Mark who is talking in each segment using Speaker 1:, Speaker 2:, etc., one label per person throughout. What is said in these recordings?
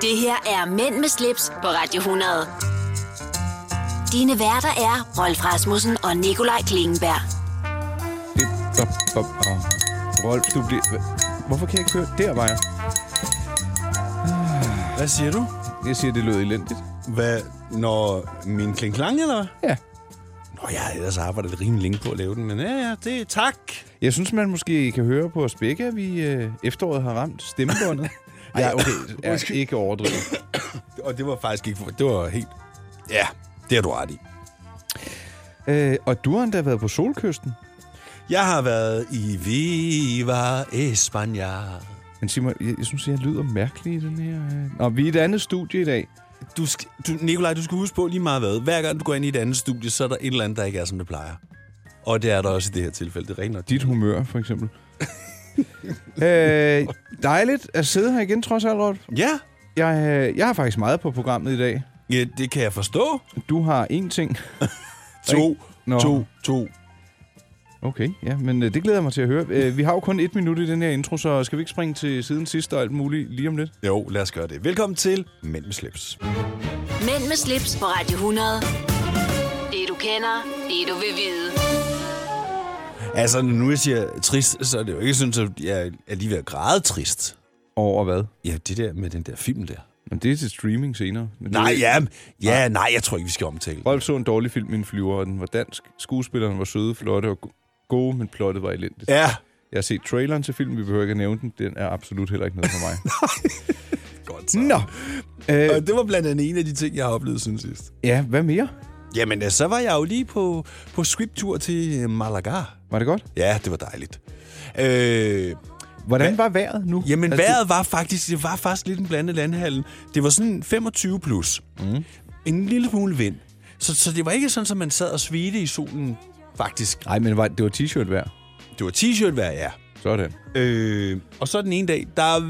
Speaker 1: Det her er Mænd med slips på Radio 100. Dine værter er Rolf Rasmussen og Nikolaj Klingenberg.
Speaker 2: Bip, bop, bop, og- Rolf, du bliver... Hvorfor kan jeg ikke høre? Der var jeg.
Speaker 3: Hvad siger du?
Speaker 2: Jeg siger, det lød elendigt.
Speaker 3: Hvad, når min klinklang, eller hvad?
Speaker 2: Ja.
Speaker 3: Nå, jeg har ellers arbejdet rimelig længe på at lave den, men ja, ja, det er tak.
Speaker 2: Jeg synes, man måske kan høre på os begge, at vi øh, efteråret har ramt stemmebåndet. Nej, okay. Er
Speaker 3: Undskyld.
Speaker 2: ikke overdrevet.
Speaker 3: Og det var faktisk ikke for... Det var helt... Ja, det har du ret i.
Speaker 2: Øh, og du har endda været på solkysten.
Speaker 3: Jeg har været i Viva España.
Speaker 2: Men Simon, jeg, jeg synes, jeg lyder mærkelig i den her... Øh... Nå, vi er i et andet studie i dag.
Speaker 3: Du, sk- du, Nikolaj, du skal huske på lige meget hvad. Hver gang du går ind i et andet studie, så er der et eller andet, der ikke er, som det plejer. Og det er der også i det her tilfælde. Det er rent nok.
Speaker 2: Dit humør, for eksempel. øh, dejligt at sidde her igen, trods alt, Rolf.
Speaker 3: Ja,
Speaker 2: Jeg, øh, jeg har faktisk meget på programmet i dag.
Speaker 3: ja det kan jeg forstå.
Speaker 2: Du har én ting.
Speaker 3: To,
Speaker 2: Nå.
Speaker 3: to, to.
Speaker 2: Okay, ja, men øh, det glæder jeg mig til at høre. Øh, vi har jo kun et minut i den her intro, så skal vi ikke springe til siden sidst og alt muligt lige om lidt?
Speaker 3: Jo, lad os gøre det. Velkommen til Mænd med slips.
Speaker 1: Mænd med slips på Radio 100. Det du kender, det du vil vide.
Speaker 3: Altså, når nu jeg siger trist, så er det jo ikke sådan, at jeg er lige ved at græde trist.
Speaker 2: Over hvad?
Speaker 3: Ja, det der med den der film der.
Speaker 2: Men det er til streaming senere. Men det er
Speaker 3: Nej,
Speaker 2: jo-
Speaker 3: ja, ja, nej, jeg tror ikke, vi skal omtale. den.
Speaker 2: Rolf så en dårlig film i en flyver, og den var dansk. Skuespillerne var søde, flotte og go- gode, men plottet var elendigt.
Speaker 3: Ja,
Speaker 2: Jeg har set traileren til filmen, vi behøver ikke at nævne den. Den er absolut heller ikke noget for mig.
Speaker 3: godt så.
Speaker 2: Nå, øh,
Speaker 3: Og det var blandt andet en af de ting, jeg har oplevet siden sidst.
Speaker 2: ja, hvad mere?
Speaker 3: Jamen, øh, så var jeg jo lige på, på scripttur til øh, Malaga.
Speaker 2: Var det godt?
Speaker 3: Ja, det var dejligt. Øh,
Speaker 2: Hvordan var vejret nu?
Speaker 3: jamen,
Speaker 2: Altså,
Speaker 3: vejret var faktisk, det var faktisk lidt en blandet landhandel. Det var sådan 25 plus. Mm. En lille smule vind. Så, så det var ikke sådan, at man sad og svedte i solen, faktisk.
Speaker 2: Nej, men var, det var t-shirt vejr.
Speaker 3: Det var t-shirt vejr, ja.
Speaker 2: Sådan.
Speaker 3: Øh, og så den ene dag, der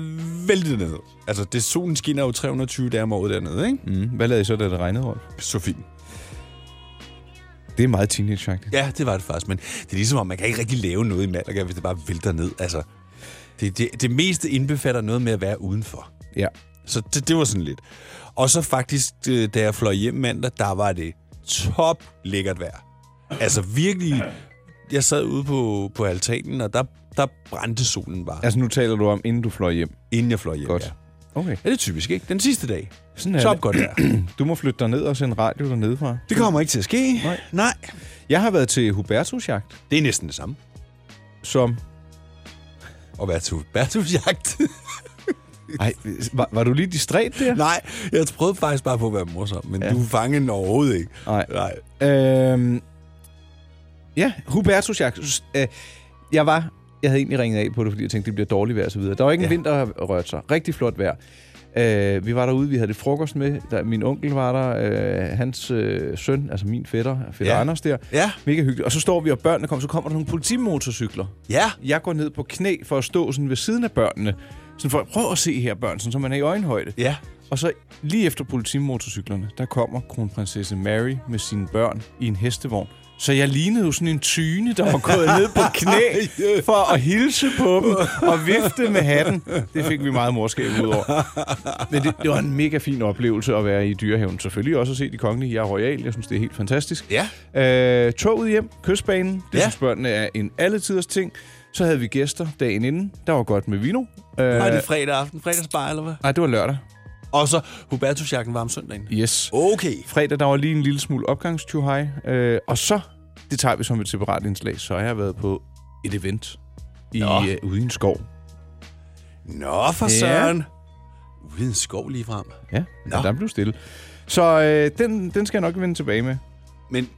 Speaker 3: væltede det ned. Altså, det, solen skinner jo 320 dage om året dernede, ikke?
Speaker 2: Mm. Hvad lavede I så, da det regnede, Rolf?
Speaker 3: Så fint.
Speaker 2: Det er meget teenage-agtigt.
Speaker 3: Ja, det var det faktisk, men det er ligesom om, man kan ikke rigtig lave noget i Malaga, hvis det bare vælter ned. Altså, det, det, det meste indbefatter noget med at være udenfor.
Speaker 2: Ja.
Speaker 3: Så det, det var sådan lidt. Og så faktisk, øh, da jeg fløj hjem mandag, der var det top lækkert vejr. Altså virkelig, jeg sad ude på, på altanen, og der, der brændte solen bare,
Speaker 2: Altså, nu taler du om, inden du fløj hjem.
Speaker 3: inden jeg fløj hjem.
Speaker 2: Godt.
Speaker 3: Ja.
Speaker 2: Okay.
Speaker 3: ja, det er typisk, ikke? Den sidste dag.
Speaker 2: Sådan er
Speaker 3: Top
Speaker 2: det.
Speaker 3: godt vejr.
Speaker 2: Du må flytte dig ned og sende radio dernede fra.
Speaker 3: Det kommer ikke til at ske.
Speaker 2: Nej.
Speaker 3: Nej.
Speaker 2: Jeg har været til Hubertus jagt,
Speaker 3: Det er næsten det samme.
Speaker 2: som...
Speaker 3: Og være til Bertus-jagt.
Speaker 2: Ej, var, var du lige distræt der?
Speaker 3: Nej, jeg prøvede faktisk bare på at være morsom, men ja. du fangede den overhovedet ikke.
Speaker 2: Nej.
Speaker 3: Nej.
Speaker 2: Øhm, ja, Hubertus jagt. S- Øh, jeg var... Jeg havde egentlig ringet af på det, fordi jeg tænkte, det bliver dårligt vejr og så videre. Der var ikke en
Speaker 3: Ja.
Speaker 2: vind, der har rørt sig. Rigtig flot vejr. Øh, vi var derude, vi havde det frokost med. Der, min onkel var der, øh, hans øh, søn, altså min fætter, fætter ja.
Speaker 3: Ja.
Speaker 2: Anders der.
Speaker 3: Ja.
Speaker 2: Mega hyggeligt. Og så står vi, og børnene kommer, så kommer der nogle politimotorcykler.
Speaker 3: Ja.
Speaker 2: Jeg går ned på knæ for at stå sådan ved siden af børnene. Sådan for at prøve at se her børn, sådan, så man er i øjenhøjde.
Speaker 3: Ja.
Speaker 2: Og så lige efter politimotorcyklerne, der kommer kronprinsesse Mary med sine børn i en hestevogn. Så jeg lignede jo sådan en tyne, der var gået ned på knæ for at hilse på dem og vifte med hatten. Det fik vi meget morskab ud over. Men det, det var en mega fin oplevelse at være i dyrehaven. Selvfølgelig også at se de kongelige. Jeg er royal. Jeg synes, det er helt fantastisk.
Speaker 3: Ja.
Speaker 2: Øh, toget hjem, kystbanen, det ja.
Speaker 3: Ja.
Speaker 2: synes børnene er en alletiders ting. Så havde vi gæster dagen inden. Der var godt med vino. Øh,
Speaker 3: Var det fredag aften, fredagsbar eller hvad?
Speaker 2: nej, det var lørdag.
Speaker 3: Og så Hubertusjagten var om søndagen.
Speaker 2: Yes.
Speaker 3: Okay.
Speaker 2: Fredag, der var lige en lille smule opgangstjuhaj. Øh, og så, det tager vi som et separat indslag, så har jeg været på et event i,
Speaker 3: Nå.
Speaker 2: øh, ude i en skov.
Speaker 3: Nå, for
Speaker 2: Ja.
Speaker 3: søren. Uden skov lige frem.
Speaker 2: Ja,
Speaker 3: Nå.
Speaker 2: og der blev stille. Så øh, den, den skal jeg nok vende tilbage med.
Speaker 3: Men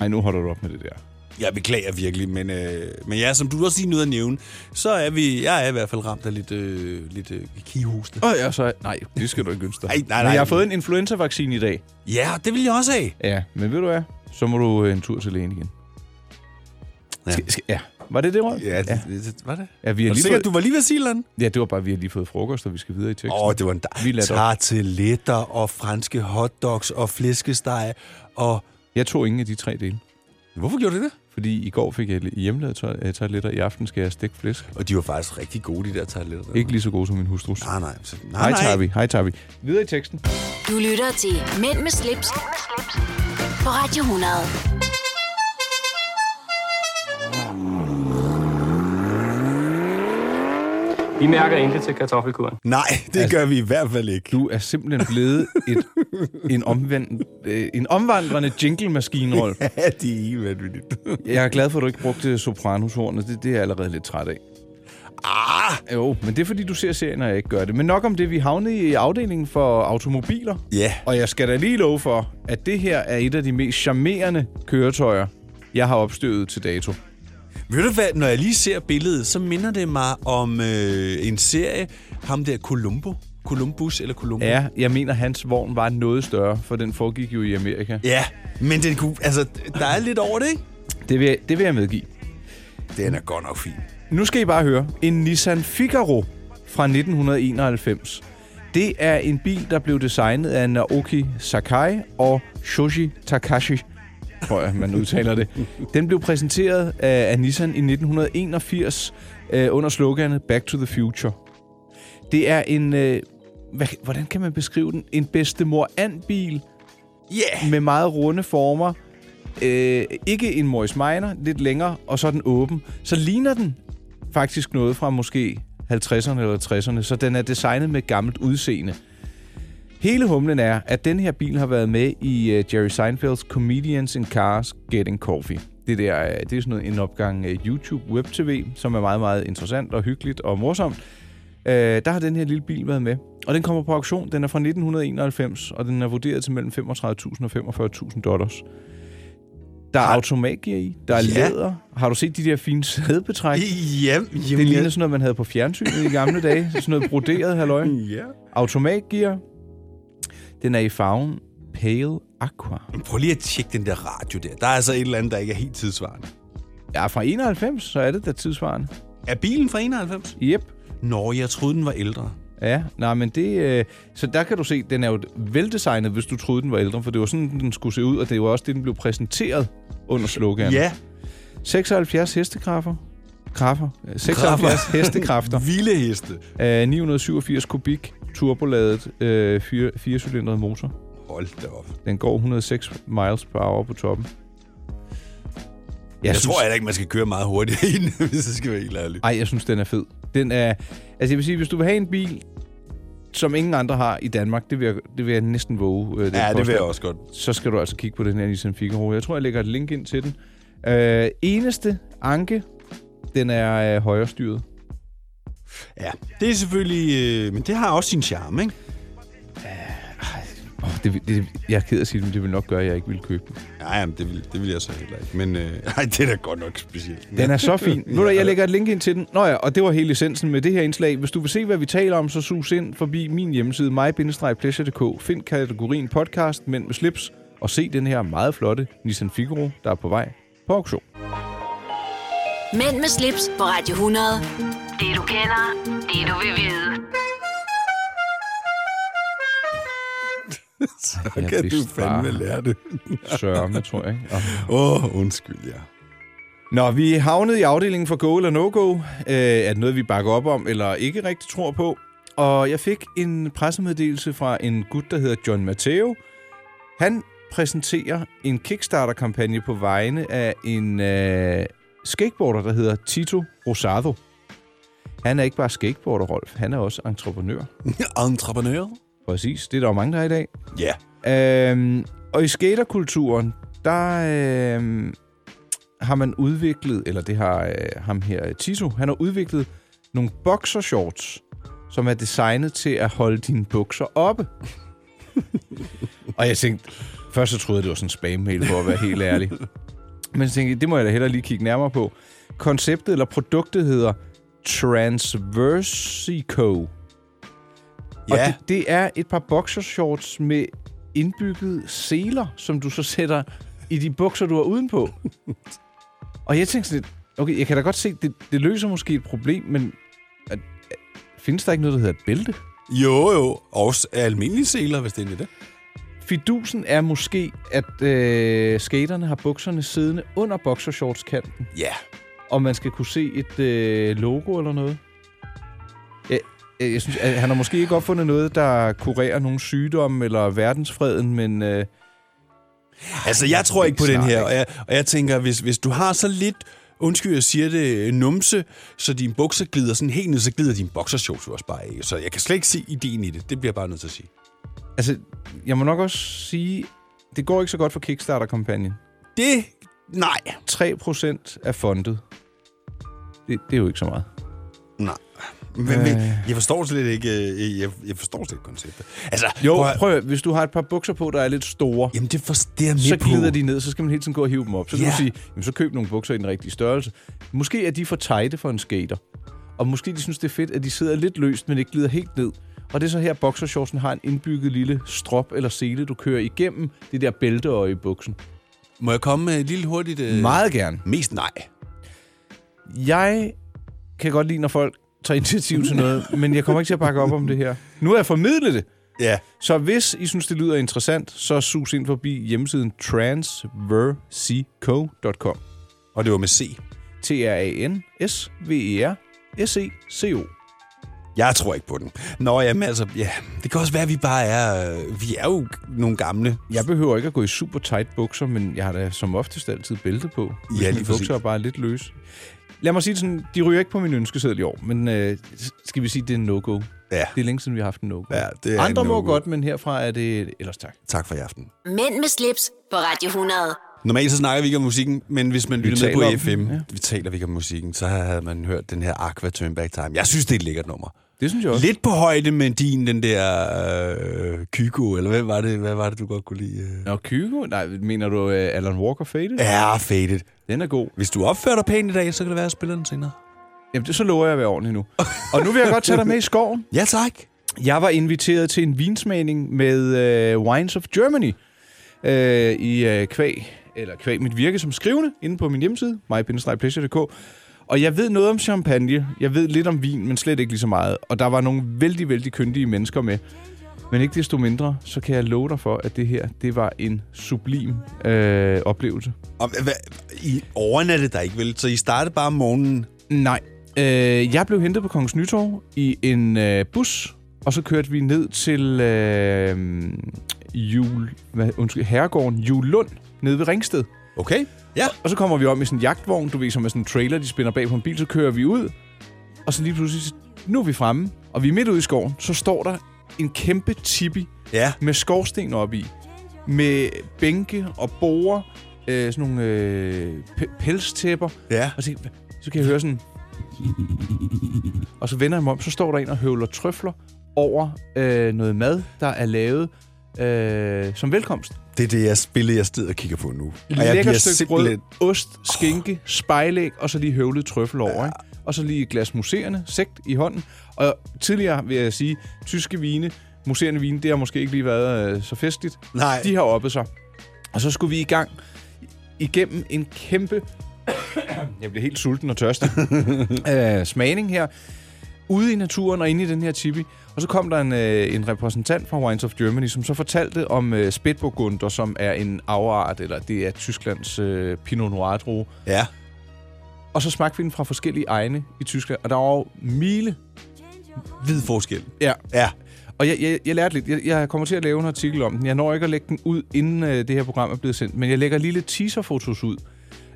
Speaker 2: Nej, nu holder du op med det der.
Speaker 3: jeg beklager virkelig, men, øh, men ja, som du også lige nåede at nævne, så er vi, jeg er i hvert fald ramt af lidt, øh, lidt øh, kihoste.
Speaker 2: Og jeg så... Nej, det skal du ikke ønske dig.
Speaker 3: Nej, nej,
Speaker 2: Men
Speaker 3: nej.
Speaker 2: jeg har fået en influenza-vaccine i dag.
Speaker 3: Ja, det vil jeg også have.
Speaker 2: Ja, men ved du hvad? Så må du øh, en tur til lægen igen.
Speaker 3: Ja.
Speaker 2: Skal, skal, ja. Var det det, Rød? ja.
Speaker 3: det, det, var det?
Speaker 2: ja, vi har lige
Speaker 3: sikkert,
Speaker 2: fået,
Speaker 3: du var lige ved at sige et eller andet?
Speaker 2: ja, det var bare, vi har lige fået frokost, og vi skal videre i teksten.
Speaker 3: Åh, oh, det var en
Speaker 2: Vi
Speaker 3: dejlig.
Speaker 2: lader op.
Speaker 3: Tarteletter og franske hotdogs og flæskesteg og...
Speaker 2: Jeg tog ingen af de tre dele,
Speaker 3: Hvorfor gjorde du det?
Speaker 2: Fordi i går fik jeg hjemmelavet toal- øh, toiletter, i aften skal jeg stikke flæsk.
Speaker 3: Og de var faktisk rigtig gode, de der toiletter.
Speaker 2: Ikke lige så gode som min hustrus.
Speaker 3: Nej, nej. Så, nej,
Speaker 2: Hej,
Speaker 3: nej.
Speaker 2: Tabi. Hej, Tabi. Videre i teksten.
Speaker 1: Du lytter til Mænd med slips, på Radio 100.
Speaker 4: Vi mærker intet til kartoffelkuren.
Speaker 3: Nej, det altså, gør vi i hvert fald ikke.
Speaker 2: Du er simpelthen blevet et, en, omvendt, øh, en omvandrende jingle-maskine, Rolf.
Speaker 3: Ja, det er helt vanvittigt.
Speaker 2: Jeg er glad for, at du ikke brugte sopranoshornet. Det, det er jeg allerede lidt træt af.
Speaker 3: ah!
Speaker 2: Jo, men det er fordi, du ser serien, og jeg ikke gør det. Men nok om det, vi havnede i afdelingen for automobiler.
Speaker 3: Ja.
Speaker 2: Og jeg skal da lige love for, at det her er et af de mest charmerende køretøjer, jeg har opstøvet til dato.
Speaker 3: Ved du hvad, når jeg lige ser billedet, så minder det mig om øh, en serie, ham der Columbo. Columbus eller Columbo.
Speaker 2: Ja, jeg mener, hans vogn var noget større, for den foregik jo i Amerika.
Speaker 3: Ja, men den kunne, altså, der er lidt over det, ikke?
Speaker 2: Det vil jeg, det vil jeg medgive.
Speaker 3: Den er godt nok fin.
Speaker 2: Nu skal I bare høre. En Nissan Figaro fra 1991. Det er en bil, der blev designet af Naoki Sakai og Shoji Takashi, tror jeg, man udtaler det. Den blev præsenteret af, af Nissan i 1981 øh, under sloganet Back to the Future. Det er en... Øh, hvad, hvordan kan man beskrive den? En bedstemor bil
Speaker 3: Ja! Yeah.
Speaker 2: med meget runde former. Øh, ikke en Morris Minor, lidt længere, og så er den åben. Så ligner den faktisk noget fra måske 50'erne eller 60'erne, så den er designet med gammelt udseende. Hele humlen er, at den her bil har været med i øh, Jerry Seinfelds Comedians in Cars Getting Coffee. Det, der, øh, det er sådan noget, en opgang øh, YouTube Web TV, som er meget, meget interessant og hyggeligt og morsomt. Øh, der har den her lille bil været med. Og den kommer på auktion. Den er fra 1991, og den er vurderet til mellem 35.000 og 45.000 dollars. Der er automatgear i. Der er
Speaker 3: Ja.
Speaker 2: ja. læder. Har du set de der fine sædebetræk?
Speaker 3: Jamen,
Speaker 2: Det
Speaker 3: jamen,
Speaker 2: ligner sådan noget, man havde på fjernsynet i gamle dage. Sådan noget broderet, halløj.
Speaker 3: Ja.
Speaker 2: Automatgear. Den er i farven Pale Aqua.
Speaker 3: Prøv lige at tjekke den der radio der. Der er altså et eller andet, der ikke er helt tidsvarende.
Speaker 2: Ja, fra 91, så er det da tidsvarende.
Speaker 3: Er bilen fra 91?
Speaker 2: Jep.
Speaker 3: Nå, jeg troede, den var ældre.
Speaker 2: Ja, nej, men det... Øh, så der kan du se, den er jo veldesignet, hvis du troede, den var ældre, for det var sådan, den skulle se ud, og det var også det, den blev præsenteret under sloganet. 76 hestekræfter. Kræfter. Øh, 76 hestekræfter.
Speaker 3: Vilde heste.
Speaker 2: Øh, 987 kubik turboladet øh, fire, firecylindret motor.
Speaker 3: Hold da op.
Speaker 2: Den går 106 miles per hour på toppen.
Speaker 3: Jeg, jeg tror heller ikke, man skal køre meget hurtigt i den, hvis jeg skal være helt ærlig.
Speaker 2: Ej, jeg synes, den er fed. Den er... Altså, jeg vil sige, hvis du vil have en bil, som ingen andre har i Danmark, det vil jeg, det vil jeg næsten våge. Øh, den
Speaker 3: Ja, det vil
Speaker 2: påstand.
Speaker 3: jeg også godt.
Speaker 2: Så skal du altså kigge på den her Nissan Figaro. Jeg tror, jeg lægger et link ind til den. Øh, eneste anke, den er øh, højrestyret.
Speaker 3: Ja, det er selvfølgelig... Øh, men det har også sin charme, ikke?
Speaker 2: Oh, det, vil- det, jeg er ked af at sige det, men det vil nok gøre, at jeg ikke vil købe den.
Speaker 3: Nej, jamen, det vil, det vil jeg så heller ikke. Men øh, ej, det er da godt nok specielt.
Speaker 2: Den er så fin. Nu, jeg lægger et link ind til den. Nå ja, og det var hele essensen med det her indslag. Hvis du vil se, hvad vi taler om, så sus ind forbi min hjemmeside, my-pleasure.dk. Find kategorien podcast, men med slips, og se den her meget flotte Nissan Figaro, der er på vej på auktion.
Speaker 1: Mænd med slips på Radio 100. Det du kender, det du vil vide.
Speaker 3: så
Speaker 2: jeg
Speaker 3: kan du
Speaker 2: vidste
Speaker 3: fandme
Speaker 2: bare.
Speaker 3: lære det.
Speaker 2: Sørme, tror jeg. Ikke? Og-
Speaker 3: Åh, oh, undskyld, ja.
Speaker 2: Nå, vi er havnet i afdelingen for go eller no-go. Øh, er det noget, vi bakker op om, eller ikke rigtig tror på? Og jeg fik en pressemeddelelse fra en gut, der hedder John Matteo. Han præsenterer en Kickstarter-kampagne på vegne af en øh, skateboarder, der hedder Tito Rosado. Han er ikke bare skateboarder, Rolf. Han er også entreprenør.
Speaker 3: Entreprenør?
Speaker 2: Præcis. Det er der jo mange, der er i dag.
Speaker 3: Ja.
Speaker 2: Øhm, og i skaterkulturen, der øhm, har man udviklet, eller det har øh, ham her, Tito, han har udviklet nogle boxershorts, som er designet til at holde dine bukser oppe. og jeg tænkte, først så troede jeg, det var sådan en spam-mail, for at være helt ærlig. Men så tænkte jeg, det må jeg da hellere lige kigge nærmere på. Konceptet eller produktet hedder Transversico. Og
Speaker 3: Ja.
Speaker 2: det, det er et par boxershorts med indbygget seler, som du så sætter i de bukser, du har udenpå. og jeg tænkte sådan lidt, okay, jeg kan da godt se, det, det løser måske et problem, men at, at, findes der ikke noget, der hedder et bælte?
Speaker 3: Jo, jo. Også almindelige seler, hvis det er det.
Speaker 2: Fidusen er måske, at øh, skaterne har bukserne siddende under boxershortskanten,
Speaker 3: Ja.
Speaker 2: og man skal kunne se et øh, logo eller noget. Jeg, jeg jeg synes, at han har måske ikke opfundet noget, der kurerer nogle sygdomme eller verdensfreden, men øh,
Speaker 3: Altså, jeg tror ikke på den
Speaker 2: snart,
Speaker 3: her,
Speaker 2: ikke?
Speaker 3: og jeg, og jeg tænker, hvis, hvis du har så lidt, undskyld, jeg siger det, numse, så dine bukser glider sådan helt ned, så glider dine boksershorts jo også bare af. Så jeg kan slet ikke se ideen i det. Det bliver jeg bare nødt til at sige.
Speaker 2: altså, jeg må nok også sige, det går ikke så godt for Kickstarter-kampagnen.
Speaker 3: Det, nej,
Speaker 2: 3% er fundet. Det, det er jo ikke så meget.
Speaker 3: nej. Men, men, jeg forstår slet ikke, øh, jeg, jeg forstår slet ikke konceptet. Altså,
Speaker 2: Jo,
Speaker 3: at-
Speaker 2: prøv at, hvis du har et par bukser på, der er lidt store,
Speaker 3: Jamen, det, for, det er jeg
Speaker 2: så
Speaker 3: med på.
Speaker 2: glider de ned, så skal man hele tiden gå og hive dem op. Så kan
Speaker 3: Ja.
Speaker 2: du sige, jamen, så køb nogle bukser i den rigtige størrelse. Måske er de for tighte for en skater. Og måske de synes, det er fedt, at de sidder lidt løst, men ikke glider helt ned. Og det er så her, boxershortsen har en indbygget lille strop eller sele, du kører igennem det der bælteøje i buksen.
Speaker 3: Må jeg komme med et lille hurtigt... Øh,
Speaker 2: Meget gerne.
Speaker 3: Mest nej.
Speaker 2: Jeg kan godt lide, når folk tager initiativ til noget, men jeg kommer ikke til at bakke op om det her. Nu har jeg formidlet det.
Speaker 3: Ja.
Speaker 2: Så hvis I synes, det lyder interessant, så sus ind forbi hjemmesiden transversico.com.
Speaker 3: Og det var med C.
Speaker 2: E T-R-A-N-S-V-E-R-S-E-C-O.
Speaker 3: Jeg tror ikke på den. Nå, jamen altså, ja. Det kan også være, at vi bare er... øh, Vi er jo nogle gamle.
Speaker 2: Jeg behøver ikke at gå i super tight bukser, men jeg har da som oftest altid bælte på. hvis
Speaker 3: lige
Speaker 2: mine
Speaker 3: præcis.
Speaker 2: bukser er bare lidt løse. Lad mig sige det sådan, de ryger ikke på min ønskeseddel i år, men øh, skal vi sige, det er en no-go. Det
Speaker 3: Ja.
Speaker 2: er længe siden, vi har haft en no-go.
Speaker 3: Ja, det er
Speaker 2: Andre
Speaker 3: en
Speaker 2: må
Speaker 3: no-go.
Speaker 2: godt, men herfra er det ellers tak.
Speaker 3: Tak for i aften.
Speaker 1: Mænd med slips på Radio 100.
Speaker 3: Normalt så snakker vi ikke om musikken, men hvis man lytter med
Speaker 2: taler
Speaker 3: på
Speaker 2: om
Speaker 3: FM,
Speaker 2: den, ja.
Speaker 3: ja. vi taler ikke om musikken, så havde man hørt den her Aqua Turn Back Time. Jeg synes, det er et lækkert nummer.
Speaker 2: Det synes jeg også.
Speaker 3: Lidt på højde med din, den der øh, Kygo, eller hvad var, det, hvad var det, du godt kunne lide? øh?
Speaker 2: Nå, Kygo? Nej, mener du øh, Alan Walker Faded?
Speaker 3: Ja, faded.
Speaker 2: Den er god.
Speaker 3: Hvis du opfører dig pænt i dag, så kan det være, at jeg spiller den senere.
Speaker 2: Jamen, det, så lover jeg at være ordentlig nu. Og nu vil jeg godt tage dig med i skoven.
Speaker 3: Ja, tak.
Speaker 2: Jeg var inviteret til en vinsmagning med øh, Wines of Germany øh, i øh, kvæg, eller kvæg mit virke som skrivende, inde på min hjemmeside, my Og jeg ved noget om champagne, jeg ved lidt om vin, men slet ikke lige så meget. Og der var nogle vældig, vældig kyndige mennesker med. Men ikke desto mindre, så kan jeg love dig for, at det her, det var en sublim øh, oplevelse.
Speaker 3: Og, hvad, I overnattede der ikke, vel? Så I startede bare om morgenen.
Speaker 2: Nej. Øh, jeg blev hentet på Kongens Nytorv i en øh, bus, og så kørte vi ned til øh, jul, hvad, undskyld, herregården Julund nede ved Ringsted.
Speaker 3: Okay. Ja.
Speaker 2: Og så kommer vi om i sådan en jagtvogn, du ved, som er sådan en trailer, de spænder bag på en bil, så kører vi ud. Og så lige pludselig, nu er vi fremme, og vi er midt ude i skoven, så står der en kæmpe tipi
Speaker 3: Ja.
Speaker 2: med skorsten op i, med bænke og borer, øh, sådan nogle øh, pe- pelstæpper,
Speaker 3: Ja.
Speaker 2: og så, så kan jeg høre sådan... Og så vender jeg mig om, så står der en og høvler trøfler over øh, noget mad, der er lavet øh, som velkomst.
Speaker 3: Det er det jeg spille, jeg sidder og kigger på nu. Og jeg
Speaker 2: Lækker
Speaker 3: bliver
Speaker 2: stykke
Speaker 3: simpelthen...
Speaker 2: brød, ost, skinke, spejlæg, og så lige høvlet trøffel over. Ikke? Og så lige et glas muserende, sekt i hånden. Og tidligere vil jeg sige, tyske vine, muserende vine, det har måske ikke lige været øh, så festligt.
Speaker 3: Nej.
Speaker 2: De har oppet sig. Og så skulle vi i gang igennem en kæmpe... jeg blev helt sulten og tørstig. øh, smagning her. Ude i naturen og inde i den her tipi. Og så kom der en, øh, en repræsentant fra Wines of Germany, som så fortalte om øh, Spitburgunder, som er en afart, eller det er Tysklands øh, Pinot Noir drue.
Speaker 3: Ja.
Speaker 2: Og så smagte vi den fra forskellige egne i Tyskland. Og der var jo mile.
Speaker 3: Hvid forskel.
Speaker 2: Ja,
Speaker 3: Ja.
Speaker 2: Og jeg, jeg, jeg lærte lidt. Jeg, jeg kommer til at lave en artikel om den. Jeg når ikke at lægge den ud, inden øh, det her program er blevet sendt. Men jeg lægger lige lidt teaserfotos ud.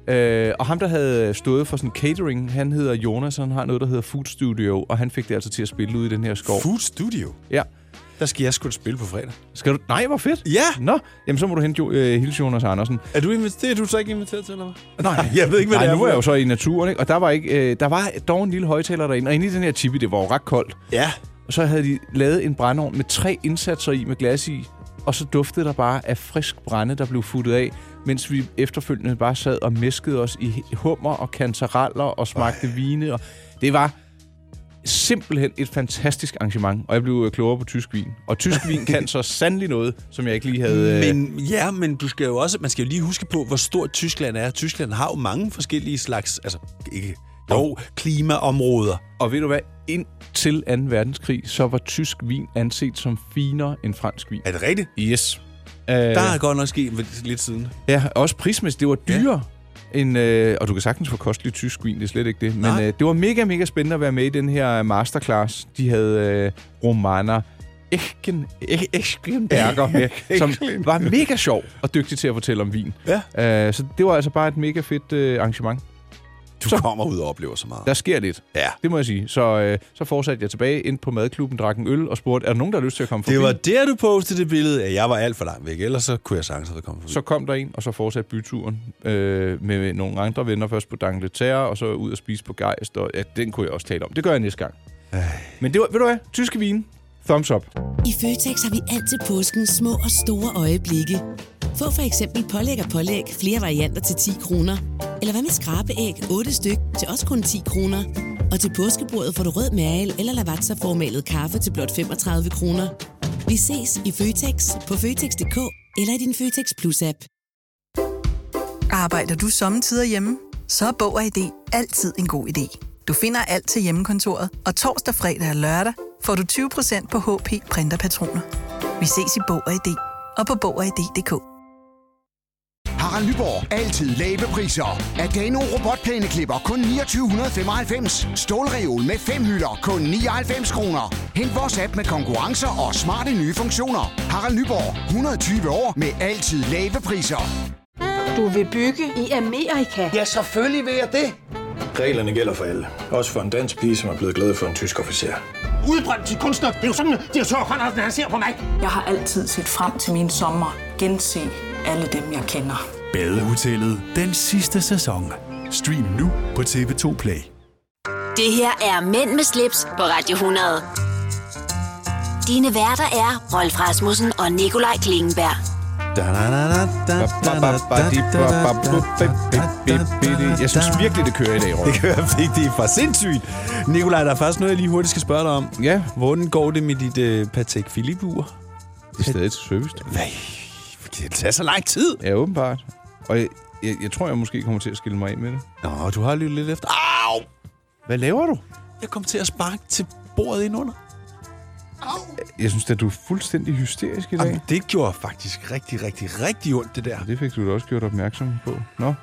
Speaker 2: Øh, og ham, der havde stået for sådan catering, han hedder Jonas, og han har noget, der hedder Food Studio. Og han fik det altså til at spille ud i den her skov.
Speaker 3: Food Studio.
Speaker 2: ja.
Speaker 3: Der skal jeg sgu spille på fredag.
Speaker 2: Skal du... Nej, hvor fedt!
Speaker 3: Ja.
Speaker 2: Nå, jamen så må du hente jo, øh, hilse Jonas Andersen.
Speaker 3: Er du, inviteret, er du så ikke inviteret til, eller hvad?
Speaker 2: Nej,
Speaker 3: jeg ved ikke, hvad
Speaker 2: Nej,
Speaker 3: det er
Speaker 2: nu
Speaker 3: for
Speaker 2: er jeg jo
Speaker 3: noget.
Speaker 2: så i naturen, ikke? Og der var, ikke, øh, der var dog en lille højtaler derinde. Og inde i den her tipi, det var jo ret koldt.
Speaker 3: Ja.
Speaker 2: Og så havde de lavet en brændeovn med tre indsatser i med glas i, og så duftede der bare af frisk brænde, der blev futtet af, mens vi efterfølgende bare sad og mæskede os i hummer og kantareller og smagte Ej. vine. Og det var simpelthen et fantastisk arrangement, og jeg blev øh, klogere på tysk vin. Og tysk vin kan så sandelig noget, som jeg ikke lige havde... øh,
Speaker 3: Men, ja, men du skal jo også, man skal jo lige huske på, hvor stort Tyskland er. Tyskland har jo mange forskellige slags, altså ikke, jo, klimaområder.
Speaker 2: Og ved du hvad? Indtil 2. verdenskrig, så var tysk vin anset som finere end fransk vin.
Speaker 3: Er det rigtigt?
Speaker 2: Yes. Øh,
Speaker 3: Der er godt nok sket lidt siden.
Speaker 2: Ja, også prismæssigt. Det var dyrere. Ja. End, øh, og du kan sagtens få kostelig tysk vin, det er slet ikke det. Men
Speaker 3: Nej.
Speaker 2: øh, det var mega, mega spændende at være med i den her masterclass. De havde øh, Romana Echen, Ech- Eschenberger med, som var mega sjov og dygtig til at fortælle om vin.
Speaker 3: Ja.
Speaker 2: Øh, så det var altså bare et mega fedt øh, arrangement.
Speaker 3: Du så. kommer ud og oplever så meget.
Speaker 2: Der sker lidt,
Speaker 3: Ja.
Speaker 2: det må jeg sige. Så, øh, så fortsatte jeg tilbage ind på madklubben, drak en øl og spurgte, er der nogen, der har lyst til at komme forbi?
Speaker 3: Det var der, du postede det billede. Ja, jeg var alt for langt væk, ellers så kunne jeg sagtens have kommet forbi.
Speaker 2: Så kom der en, og så fortsatte byturen øh, med nogle andre venner. Først på D'Angleterre, og så ud og spise på Geist. Og, ja, den kunne jeg også tale om. Det gør jeg næste gang. Øh. Men det var, ved du hvad? Tyske vin. Thumbs up.
Speaker 5: I Føtex har vi altid påskens små og store øjeblikke. Få for eksempel pålæg og pålæg flere varianter til 10 kroner. Eller hvad med skrabeæg 8 styk til også kun 10 kroner. Og til påskebordet får du rød mal eller lavatserformalet kaffe til blot 35 kroner. Vi ses i Føtex på Føtex.dk eller i din Føtex Plus-app.
Speaker 6: Arbejder du sommetider hjemme? Så er Bog og ID altid en god idé. Du finder alt til hjemmekontoret, og torsdag, fredag og lørdag får du 20% på HP Printerpatroner. Vi ses i Bog og ID og på Bog og ID.dk.
Speaker 7: Harald Nyborg. Altid lave priser. Adano robotplæneklipper kun 2995. Stålreol med fem hylder kun 99 kroner. Hent vores app med konkurrencer og smarte nye funktioner. Harald Nyborg. 120 år med altid lave priser.
Speaker 8: Du vil bygge i Amerika?
Speaker 7: Ja, selvfølgelig vil jeg det.
Speaker 9: Reglerne gælder for alle. Også for en dansk pige, som er blevet glad for en tysk officer.
Speaker 10: udbrændt til kunstner. Det er jo sådan, at de har tørt hånden, han ser på mig.
Speaker 8: Jeg har altid set frem til min sommer. Gense alle dem, jeg kender.
Speaker 11: Badehotellet den sidste sæson. Stream nu på TV2 Play.
Speaker 1: Det her er Mænd med slips på Radio 100. Dine værter er Rolf Rasmussen og Nikolaj Klingenberg.
Speaker 2: Jeg synes virkelig, det kører i dag, Rolf.
Speaker 3: Det kan være vigtigt for sindssygt. Nikolaj, der er faktisk noget, jeg lige hurtigt skal spørge dig om.
Speaker 2: Ja,
Speaker 3: Hvordan går det med dit øh, Patek Philippe-ur?
Speaker 2: det er stadig til service.
Speaker 3: Nej, det tager så lang tid.
Speaker 2: Ja, åbenbart. Og jeg, jeg, jeg tror, jeg måske kommer til at skille mig af med det.
Speaker 3: Nå, du har lyttet lidt efter. Au!
Speaker 2: Hvad laver du?
Speaker 3: Jeg kom til at sparke til bordet indunder.
Speaker 2: Jeg synes at du er fuldstændig hysterisk i dag.
Speaker 3: Jamen, det gjorde faktisk rigtig, rigtig, rigtig ondt, det der.
Speaker 2: Det fik du da også gjort opmærksom på. Nå,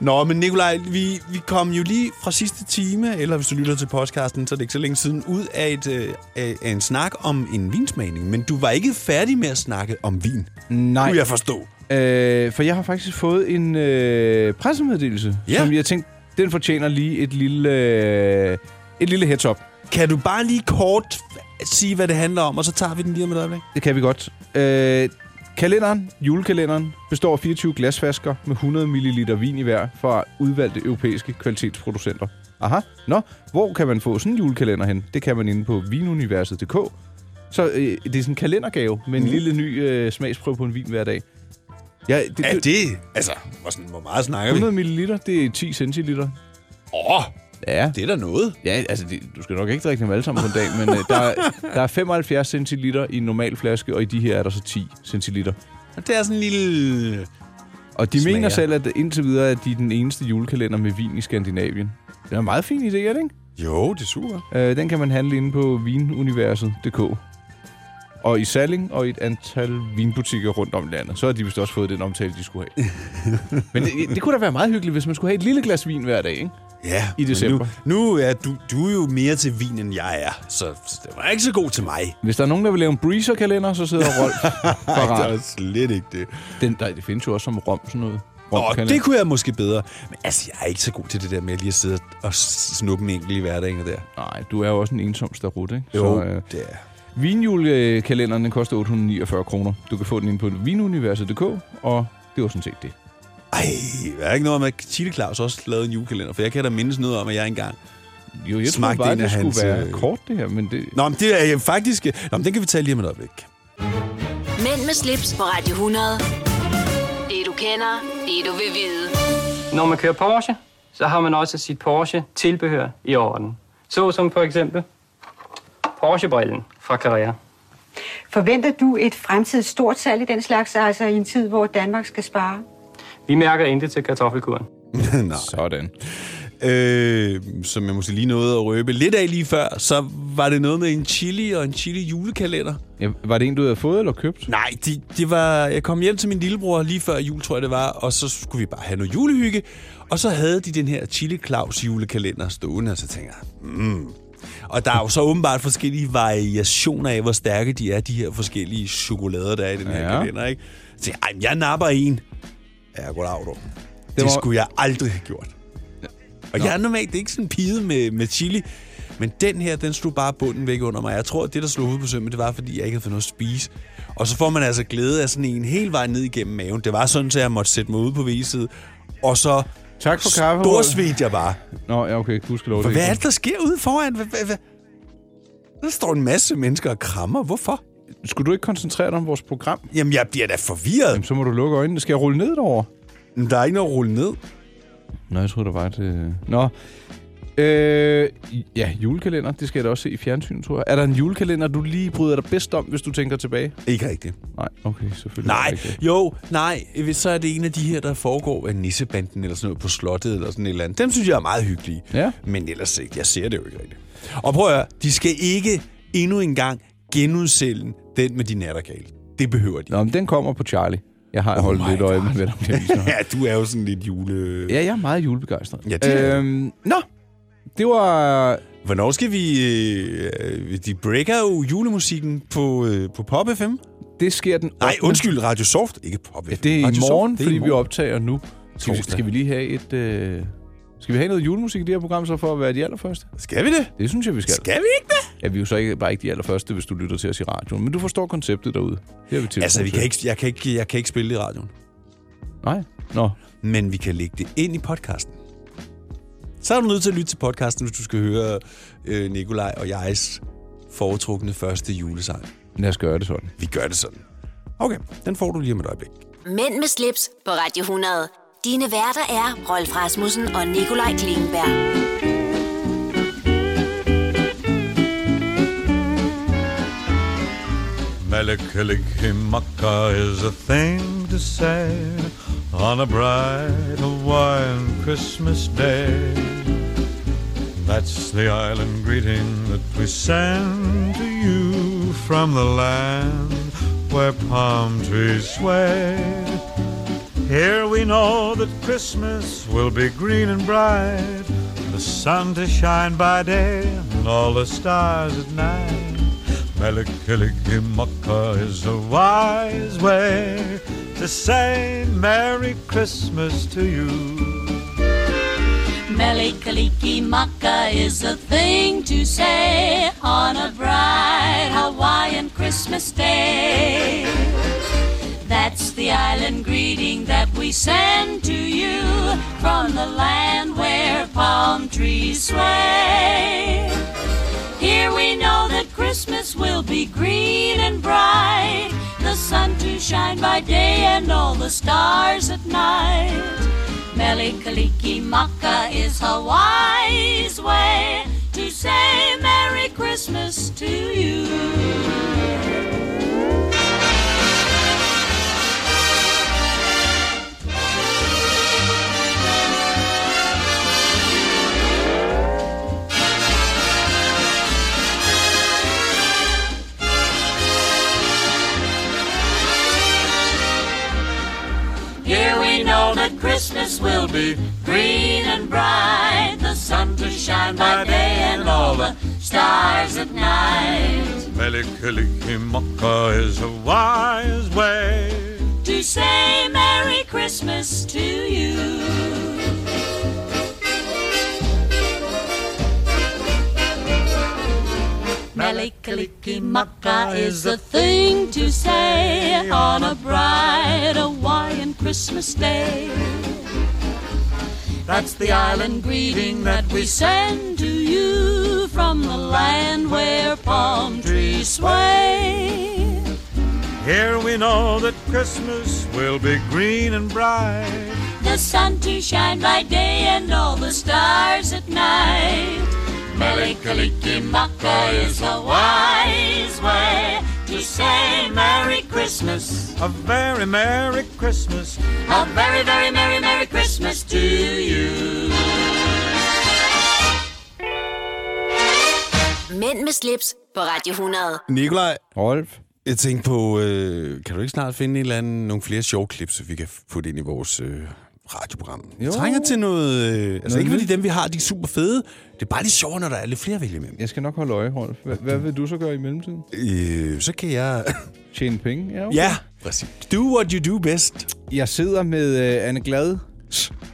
Speaker 3: Nå, men Nikolaj, vi, vi kom jo lige fra sidste time, eller hvis du lytter til podcasten, så er det ikke så længe siden, ud af, et, øh, af af en snak om en vinsmagning. Men du var ikke færdig med at snakke om vin.
Speaker 2: Nej.
Speaker 3: Kunne jeg forstå.
Speaker 2: Øh, for jeg har faktisk fået en øh, pressemeddelelse,
Speaker 3: Ja.
Speaker 2: som jeg tænkte, den fortjener lige et lille, øh, et lille heads up.
Speaker 3: Kan du bare lige kort f- sige, hvad det handler om, og så tager vi den lige om et øjeblik?
Speaker 2: Det kan vi godt. Øh, kalenderen, julekalenderen, består af 24 glasflasker med 100 ml vin i hver fra udvalgte europæiske kvalitetsproducenter. Aha. Nå, hvor kan man få sådan en julekalender hen? Det kan man inde på vinuniverset.dk. Så øh, det er sådan en kalendergave med en mm. lille ny øh, smagsprøve på en vin hver dag. Ja, det,
Speaker 3: Ja, det... Altså, hvor, sådan, hvor meget snakker vi?
Speaker 2: 100 ml, det er 10 centiliter.
Speaker 3: Åh,
Speaker 2: Ja.
Speaker 3: det er da noget.
Speaker 2: Ja, altså, det, du skal nok ikke drikke dem alle sammen på en dag, men øh, der, er- der er 75 centiliter i en normal flaske, og i de her er der så 10 centiliter.
Speaker 3: Det er sådan en lille...
Speaker 2: Og de Smager.
Speaker 3: Smager.
Speaker 2: mener selv, at indtil videre, at de er den eneste julekalender med vin i Skandinavien. Det er en meget fin idé, er det ikke?
Speaker 3: Jo, det er super.
Speaker 2: Øh, den kan man handle inde på vinuniverset.dk. Og i Salling og i et antal vinbutikker rundt om landet. Så har de vist også fået den omtale, de skulle have. Men det, det kunne da være meget hyggeligt, hvis man skulle have et lille glas vin hver dag, ikke?
Speaker 3: Ja,
Speaker 2: I
Speaker 3: men
Speaker 2: december.
Speaker 3: Nu, nu er du, du er jo mere til vin, end jeg er, så det var ikke så god til mig.
Speaker 2: Hvis der er nogen, der vil lave en breezer-kalender, så sidder Rolf
Speaker 3: Nej, det
Speaker 2: parat.
Speaker 3: er slet ikke det.
Speaker 2: Den, der, det findes jo også som rom, sådan noget.
Speaker 3: Åh,
Speaker 2: Romkalender.
Speaker 3: det kunne jeg måske bedre. Men altså, jeg er ikke så god til det der med lige at sidde og snuppe en enkelt i hverdagen der.
Speaker 2: Nej, du er jo også en ensom starut, ikke?
Speaker 3: Jo,
Speaker 2: Så, øh,
Speaker 3: det er
Speaker 2: vinjulekalenderen, den koster 849 kroner. Du kan få den inde på vinuniverset.dk, og det var sådan set det.
Speaker 3: Ej, er der ikke noget om, at Chile Claus også lavede en julekalender? For jeg kan da mindes noget om, at jeg engang...
Speaker 2: Jo, jeg
Speaker 3: Smagte
Speaker 2: tror bare,
Speaker 3: en
Speaker 2: det
Speaker 3: af
Speaker 2: skulle
Speaker 3: hans,
Speaker 2: være
Speaker 3: øh,
Speaker 2: kort, det her, men det...
Speaker 3: Nå, men det er jeg faktisk... Nå, men den kan vi tage lige om et øjeblik.
Speaker 1: Mænd med slips på Radio 100. Det du kender, det du vil vide.
Speaker 4: Når man kører Porsche, så har man også sit Porsche-tilbehør i orden. Så som for eksempel Porsche-brillen fra Carrera.
Speaker 10: Forventer du et fremtidigt stort salg i den slags, altså i en tid, hvor Danmark skal spare?
Speaker 4: Vi mærker intet til kartoffelkuren.
Speaker 3: Nå.
Speaker 2: Sådan.
Speaker 3: øh, som jeg måske lige nåede at røbe lidt af lige før, så var det noget med en chili og en chili julekalender.
Speaker 2: Ja, var det en, du havde fået eller købt?
Speaker 3: Nej, det, det var, jeg kom hjem til min lillebror lige før jul, tror jeg det var, og så skulle vi bare have noget julehygge. Og så havde de den her Chili Claus julekalender stående, og så tænker jeg, mm. Og der er jo så åbenbart forskellige variationer af, hvor stærke de er, de her forskellige chokolader, der er i den her
Speaker 2: Ja.
Speaker 3: ja. kalender, ikke? Så tænker jeg, "Ej, men jeg napper en. Ja, goddag, du. Det, det
Speaker 2: var-
Speaker 3: skulle jeg aldrig have gjort. Og jeg er normalt ikke sådan en pige med, med chili, men den her, den slog bare bunden væk under mig. Jeg tror, at det, der slog hovedet på sømmet, det var, fordi jeg ikke havde fået noget at spise. Og så får man altså glæde af sådan en hele vejen ned igennem maven. Det var sådan, at jeg måtte sætte mig ude på viset. Og så
Speaker 2: Tak for kaffe.
Speaker 3: storsvigt jeg bare.
Speaker 2: Nå, ja, okay. Husk lov.
Speaker 3: For hvad er det, der sker ude foran? Hvad, hvad, hvad? Der står en masse mennesker og krammer. Hvorfor?
Speaker 2: Skulle du ikke koncentrere dig om vores program?
Speaker 3: Jamen, jeg bliver da forvirret.
Speaker 2: Jamen, så må du lukke øjnene. Skal jeg rulle ned derovre?
Speaker 3: Jamen, der er ikke noget at rulle ned.
Speaker 2: Nå, jeg troede, der var et... Øh... Nå. Øh, ja, julekalender. Det skal jeg da også se i fjernsyn, tror jeg. Er der en julekalender, du lige bryder dig bedst om, hvis du tænker tilbage?
Speaker 3: Ikke rigtigt.
Speaker 2: Nej, okay, selvfølgelig. er
Speaker 3: Nej,
Speaker 2: det ikke det.
Speaker 3: jo, nej. Hvis Så er det en af de her, der foregår af nissebanden eller sådan noget på slottet eller sådan et eller andet. Dem synes jeg er meget hyggelige.
Speaker 2: Ja.
Speaker 3: Men ellers ikke. Jeg ser det jo ikke rigtigt. Og prøv at høre, de skal ikke endnu en gang genudsælge den med de nattergale. Det behøver de.
Speaker 2: Nå, men den kommer på Charlie. Jeg har oh holdt
Speaker 3: my
Speaker 2: lidt øje med,
Speaker 3: God.
Speaker 2: hvad der bliver vist.
Speaker 3: ja, du er jo sådan lidt jule...
Speaker 2: Ja, jeg er meget julebegejstret.
Speaker 3: Ja, det er jeg.
Speaker 2: øhm, Nå, det var...
Speaker 3: Hvornår skal vi... Øh, de breaker jo julemusikken på, øh, på Pop FM.
Speaker 2: Det sker den...
Speaker 3: Nej,
Speaker 2: ottende.
Speaker 3: undskyld, Radio Soft. Ikke Pop FM.
Speaker 2: Ja, det er i
Speaker 3: Radio Soft.
Speaker 2: morgen,
Speaker 3: Det er
Speaker 2: fordi
Speaker 3: i
Speaker 2: vi
Speaker 3: morgen.
Speaker 2: optager nu. Skal vi,
Speaker 3: Torsdag.
Speaker 2: skal vi lige have et... Øh... Skal vi have noget julemusik i det her program, så for at være de allerførste?
Speaker 3: Skal vi det?
Speaker 2: Det synes jeg, vi skal.
Speaker 3: Skal vi ikke det?
Speaker 2: Ja, vi er jo så ikke, bare ikke de allerførste, hvis du lytter til os i radioen. Men du forstår konceptet derude. Det har vi til.
Speaker 3: Altså, vi kan ikke, jeg, kan ikke, jeg kan ikke spille det i radioen.
Speaker 2: Nej. Nå.
Speaker 3: men vi kan lægge det ind i podcasten. Så er du nødt til at lytte til podcasten, hvis du skal høre øh, Nikolaj og jegs foretrukne første julesang.
Speaker 2: Lad os gøre det sådan.
Speaker 3: Vi gør det sådan. Okay, den får du lige om et øjeblik.
Speaker 1: Mænd med slips på Radio 100. Dine værter er Rolf Rasmussen og Nikolaj Klingenberg.
Speaker 12: Malakalikimaka is a thing to say on a bright Hawaiian Christmas day. That's the island greeting that we send to you from the land where palm trees sway. Here we know that Christmas will be green and bright, the sun to shine by day and all the stars at night. Melikilikimaka is a wise way to say Merry Christmas to you.
Speaker 13: Melikaliki maka is a thing to say on a bright Hawaiian Christmas day. That's the island greeting that we send to you from the land where palm trees sway. Here we know that Christmas will be green and bright, the sun to shine by day and all the stars at night. Melikaliki Maka is Hawaii's way to say Merry Christmas to you. Here we know that Christmas will be green and bright, the sun to shine by day and all the stars at night.
Speaker 12: Melikilikimaka is a wise way
Speaker 13: To say Merry Christmas to you. Melikilikimaka is a thing to say on a bright Hawaiian Christmas day. That's the island greeting that we send to you from the land where palm trees sway.
Speaker 12: Here we know that Christmas will be green and bright.
Speaker 13: The sun to shine by day and all the stars at night. Melikilikimaka is a wise way to say Merry Christmas.
Speaker 12: A very Merry Christmas.
Speaker 13: A very, very Merry, Merry Christmas to you.
Speaker 1: Mænd med slips på Radio 100.
Speaker 3: Nikolaj.
Speaker 2: Rolf.
Speaker 3: Jeg tænkte på, øh, kan du ikke snart finde en eller anden, nogle flere sjove klip, så vi kan putte ind i vores øh, radioprogram? Jo. Jeg trænger til noget... Øh, altså
Speaker 2: Noget
Speaker 3: ikke fordi
Speaker 2: nyt.
Speaker 3: dem, vi har, de er super fede. Det er bare de sjove, når der er lidt flere at vælge imellem.
Speaker 2: Jeg skal nok holde øje, Rolf. Hva- Hvad vil du så gøre i mellemtiden?
Speaker 3: Øh, så kan jeg...
Speaker 2: Tjene penge? Ja, okay.
Speaker 3: Ja, præcis. Do what you do best.
Speaker 2: Jeg sidder med øh, Anne Glad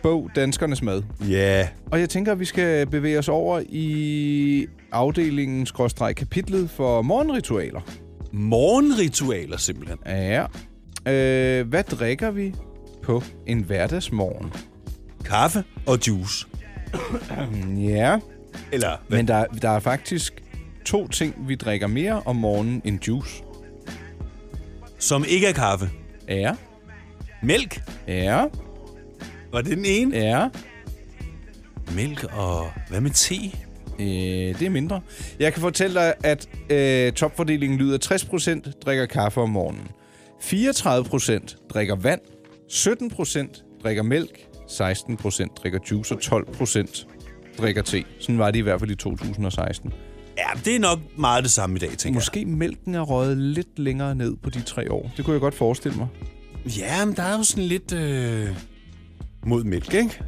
Speaker 2: bog Danskernes Mad.
Speaker 3: Ja.
Speaker 2: Og jeg tænker, at vi skal bevæge os over i afdelingen skråstreg kapitlet for morgenritualer.
Speaker 3: Morgenritualer simpelthen.
Speaker 2: Ja. Øh, hvad drikker vi på en hverdagsmorgen?
Speaker 3: Kaffe og juice.
Speaker 2: ja.
Speaker 3: Eller hvad?
Speaker 2: Men der, der er faktisk to ting, vi drikker mere om morgenen end juice.
Speaker 3: Som ikke er kaffe.
Speaker 2: Ja.
Speaker 3: Mælk.
Speaker 2: Ja.
Speaker 3: Var det den ene?
Speaker 2: Ja.
Speaker 3: Mælk og... Hvad med te?
Speaker 2: Øh, det er mindre. Jeg kan fortælle dig, at øh, topfordelingen lyder 60% drikker kaffe om morgenen, 34% drikker vand, 17% drikker mælk, 16% drikker juice og 12% drikker te. Sådan var det i hvert fald i 2016.
Speaker 3: Ja, det er nok meget det samme i dag, tænker
Speaker 2: Måske mælken er røget lidt længere ned på de tre år. Det kunne jeg godt forestille mig.
Speaker 3: jeg. Ja, men der er jo sådan lidt... Øh... Mod mælk, ikke?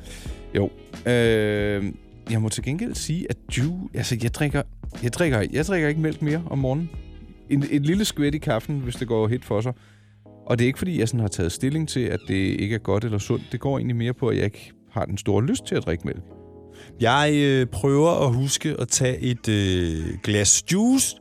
Speaker 2: Jo. Øh, jeg må til gengæld sige, at ju, altså, jeg drikker, jeg, drikker, jeg drikker ikke mælk mere om morgenen. En, et lille skvæt i kaffen, hvis det går helt for sig. Og det er ikke, fordi jeg sådan har taget stilling til, at det ikke er godt eller sundt. Det går egentlig mere på, at jeg ikke har den store lyst til at drikke mælk.
Speaker 3: Jeg øh, prøver at huske at tage et øh, glas juice,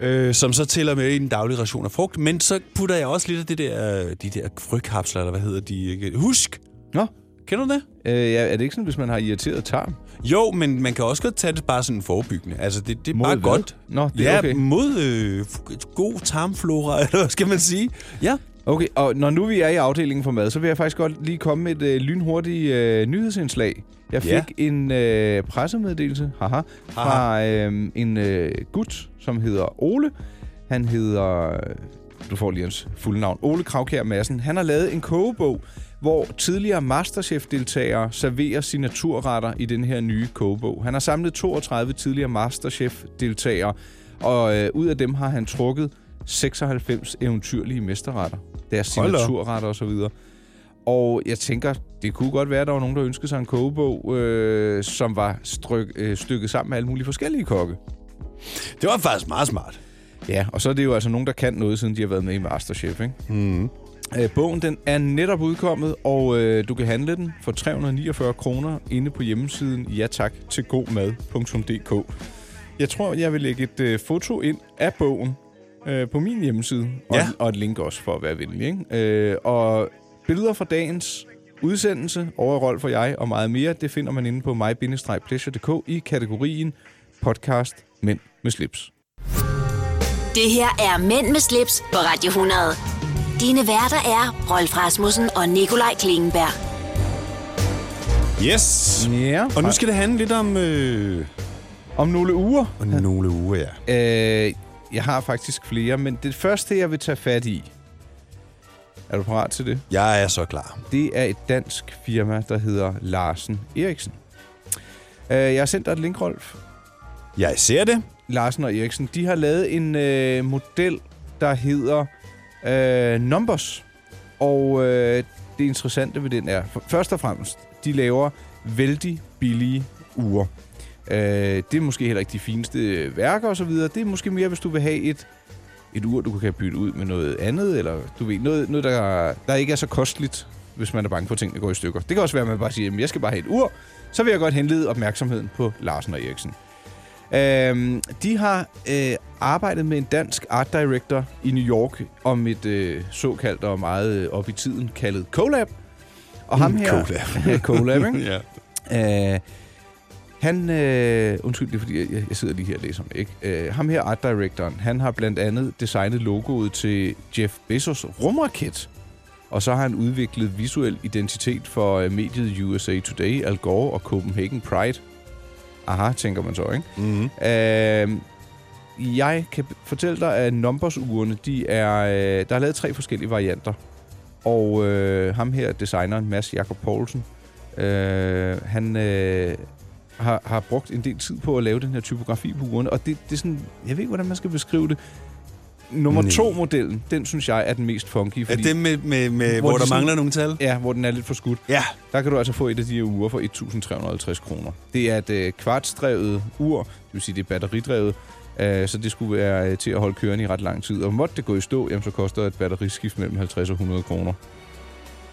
Speaker 3: øh, som så tæller med i den daglige ration af frugt. Men så putter jeg også lidt af det der, øh, de der frøkapsler, eller hvad hedder de? ikke? Husk!
Speaker 2: Nå.
Speaker 3: Kender du det?
Speaker 2: Øh, ja, er det ikke sådan, hvis man har irriteret
Speaker 3: Ah,
Speaker 2: tarm?
Speaker 3: Jo, men man kan også godt tage det bare sådan forebyggende. Altså, det, det er
Speaker 2: Mod
Speaker 3: bare
Speaker 2: hvad?
Speaker 3: godt.
Speaker 2: Nå, det er
Speaker 3: ja,
Speaker 2: okay.
Speaker 3: mod øh, f- god tarmflora, eller hvad skal man sige? Ja.
Speaker 2: Okay, og når nu vi er i afdelingen for mad, så vil jeg faktisk godt lige komme med et øh, lynhurtigt øh, nyhedsindslag. Jeg fik
Speaker 3: Ja.
Speaker 2: en øh, pressemeddelelse haha, fra øh, en øh, gut, som hedder Ole. Han hedder, øh, du får lige hans fulde navn, Ole Kravkær Madsen. Han har lavet en kogebog, hvor tidligere Masterchef-deltagere serverer signaturretter i den her nye kogebog. Han har samlet 32 tidligere Masterchef-deltagere, og øh, ud af dem har han trukket 96 eventyrlige mesterretter. Deres
Speaker 3: Hold da op.
Speaker 2: signaturretter osv. Og jeg tænker, det kunne godt være, at der var nogen, der ønskede sig en kogebog, øh, som var stryk, øh, stykket sammen med alle mulige forskellige kokke.
Speaker 3: Det var faktisk meget smart.
Speaker 2: Ja, og så er det jo altså nogen, der kan noget, siden de har været med i Masterchef, ikke? Mm. Øh, bogen den er netop udkommet, og øh, du kan handle den for 349 kroner inde på hjemmesiden ja tak til godmad.dk. Jeg tror, jeg vil lægge et øh, foto ind af bogen øh, på min hjemmeside, og,
Speaker 3: Ja.
Speaker 2: og et link også for at være venlig. Ikke? Øh, og billeder fra dagens udsendelse over Rolf og jeg og meget mere, det finder man inde på mig-pleasure.dk i kategorien podcast Mænd med slips.
Speaker 1: Det her er Mænd med slips på Radio 100. Dine værter er Rolf Rasmussen og Nikolaj Klingenberg.
Speaker 3: Yes!
Speaker 2: Ja.
Speaker 3: Og nu skal det handle lidt om... Øh...
Speaker 2: Om nogle uger.
Speaker 3: Og nogle uger, ja.
Speaker 2: Øh, jeg har faktisk flere, men det første, jeg vil tage fat i... Er du parat til det?
Speaker 3: Jeg er så klar.
Speaker 2: Det er et dansk firma, der hedder Larsen Eriksen. Øh, jeg har sendt dig et link, Rolf.
Speaker 3: Jeg ser det.
Speaker 2: Larsen og Eriksen, de har lavet en øh, model, der hedder øh, Numbers. Og øh, det interessante ved den er, for, først og fremmest, de laver vældig billige uger. Øh, det er måske heller ikke de fineste øh, værker osv. Det er måske mere, hvis du vil have et, et ur, du kan bytte ud med noget andet, eller du ved, noget, noget der, der ikke er så kosteligt, hvis man er bange for, at tingene går i stykker. Det kan også være, at man bare siger, at jeg skal bare have et ur. Så vil jeg godt henlede opmærksomheden på Larsen og Eriksen. Øhm, de har øh, arbejdet med en dansk art director i New York om et øh, såkaldt og meget øh, op i tiden kaldet collab. Og ham
Speaker 3: Mm,
Speaker 2: her...
Speaker 3: collab.
Speaker 2: collab, ikke? ja. Øh, han... Øh, undskyld, det er fordi, jeg, jeg sidder lige her og læser mig, ikke? Øh, ham her, art directoren, han har blandt andet designet logoet til Jeff Bezos rumraket. Og så har han udviklet visuel identitet for øh, mediet USA Today, Al Gore og Copenhagen Pride. Aha, tænker man så, ikke?
Speaker 3: Mm-hmm.
Speaker 2: Øh, jeg kan b- fortælle dig, at numbers-urene, de er, øh, der er lavet tre forskellige varianter. Og øh, ham her, designeren Mads Jakob Poulsen, øh, han, øh, har, har brugt en del tid på at lave den her typografi på ugerne, og det, det er sådan, jeg ved ikke, hvordan man skal beskrive det. Nummer
Speaker 3: Nej.
Speaker 2: to modellen, den synes jeg er den mest funky. Fordi,
Speaker 3: den med- med- med- hvor
Speaker 2: de
Speaker 3: der mangler nogle tal?
Speaker 2: Ja, hvor den er lidt for skudt.
Speaker 3: Ja.
Speaker 2: Der kan du altså få et af de her uger for 1.350 kroner. Det er et øh, kvartsdrevet ur, det vil sige, det er batteridrevet, øh, så det skulle være øh, til at holde kørende i ret lang tid. Og måtte det gå i stå, jamen, så koster et batteriskift mellem 50 og 100 kroner.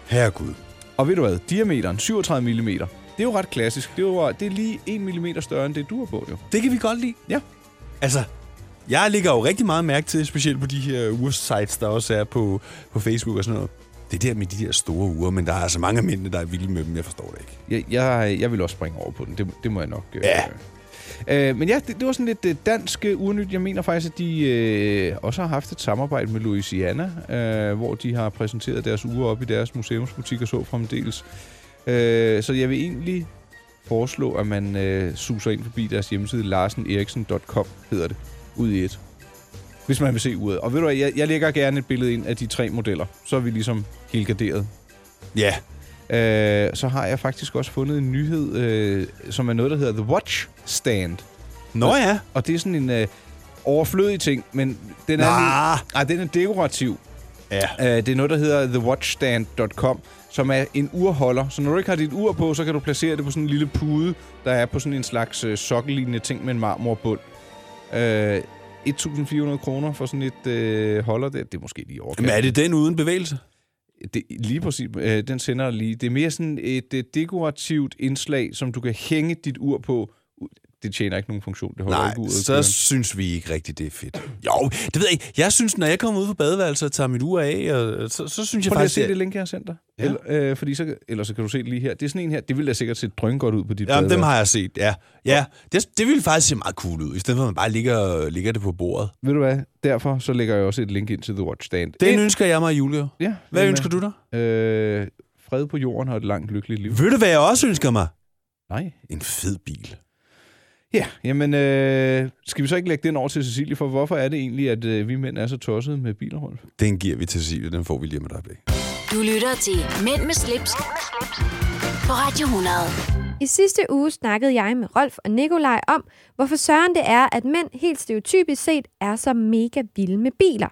Speaker 3: Herregud.
Speaker 2: Og ved du hvad? Diameteren, 37 mm. Det er jo ret klassisk. Det er, jo, det er lige 1 mm større end det, du har på, jo.
Speaker 3: Det kan vi godt lide.
Speaker 2: Ja.
Speaker 3: Altså, jeg ligger jo rigtig meget mærke til, specielt på de her ursites, der også er på, på Facebook og sådan noget. Det der med de der store uger, men der er altså mange af mændene, der er vilde med dem. Jeg forstår det ikke.
Speaker 2: Jeg, jeg, jeg vil også springe over på den. Det, det må jeg nok... Øh, ja. Øh, men ja, det, det var sådan lidt øh, dansk øh, urnyt. Jeg mener faktisk, at de øh, også har haft et samarbejde med Louisiana, øh, hvor de har præsenteret deres uger op i deres museumsbutik og så fremdeles. Øh, så jeg vil egentlig foreslå, at man øh, suser ind forbi deres hjemmeside, larseneriksen.com hedder det, ud i et. Hvis man vil se uret. Og ved du hvad, jeg, jeg lægger gerne et billede ind af de tre modeller. Så er vi ligesom helgarderet.
Speaker 3: Ja.
Speaker 2: Øh, så har jeg faktisk også fundet en nyhed, øh, som er noget, der hedder The Watch Stand.
Speaker 3: Nå ja.
Speaker 2: Og det er sådan en øh, overflødig ting, men den er,
Speaker 3: Nah.
Speaker 2: nej, den er dekorativ.
Speaker 3: Ja.
Speaker 2: Øh, det er noget, der hedder thewatchstand.com, som er en urholder. Så når du ikke har dit ur på, så kan du placere det på sådan en lille pude, der er på sådan en slags øh, sokkellignende ting med en marmorbund. Øh, 1.400 kroner for sådan et øh, holder der. Det er måske lige overkant.
Speaker 3: Men er det den uden bevægelse?
Speaker 2: Det, lige præcis, øh, den sender lige. Det er mere sådan et øh, dekorativt indslag, som du kan hænge dit ur på. Det tjener ikke nogen funktion. Det holder
Speaker 3: Nej,
Speaker 2: ikke uret.
Speaker 3: så
Speaker 2: kørende.
Speaker 3: synes vi ikke rigtigt, det er fedt. Jo, det ved jeg ikke. Jeg synes, når jeg kommer ud på badeværelset og tager mit ur af, og, øh, så, så synes jeg
Speaker 2: Prøv lige at
Speaker 3: faktisk...
Speaker 2: se det link, jeg har sendt dig. Ja. Eller, øh, fordi så, eller så kan du se det lige her. Det er sådan en her. Det ville da sikkert se drøn godt ud på dit
Speaker 3: Jamen, dem
Speaker 2: badeværelse.
Speaker 3: har jeg set, ja. Ja, det, det ville faktisk se meget cool ud, i stedet for at man bare ligger, ligger det på bordet.
Speaker 2: Ved du hvad? Derfor så lægger jeg også et link ind til The Watch Stand.
Speaker 3: Den
Speaker 2: Ind-
Speaker 3: ønsker jeg mig i julegave.
Speaker 2: Ja.
Speaker 3: Hvad
Speaker 2: Jamen,
Speaker 3: ønsker du dig?
Speaker 2: Øh, fred på jorden og et langt, lykkeligt liv.
Speaker 3: Ved du, hvad jeg også ønsker mig?
Speaker 2: Nej.
Speaker 3: En fed bil.
Speaker 2: Ja, jamen, øh, skal vi så ikke lægge den over til Cecilie, for hvorfor er det egentlig, at øh, vi mænd er så tossede med biler, Rolf?
Speaker 3: Den giver vi til Cecilie, den får vi lige om et øjeblik.
Speaker 1: Du lytter til Mænd med slips, på Radio 100.
Speaker 14: I sidste uge snakkede jeg med Rolf og Nikolaj om, hvorfor søren det er, at mænd helt stereotypisk set er så mega vilde med biler.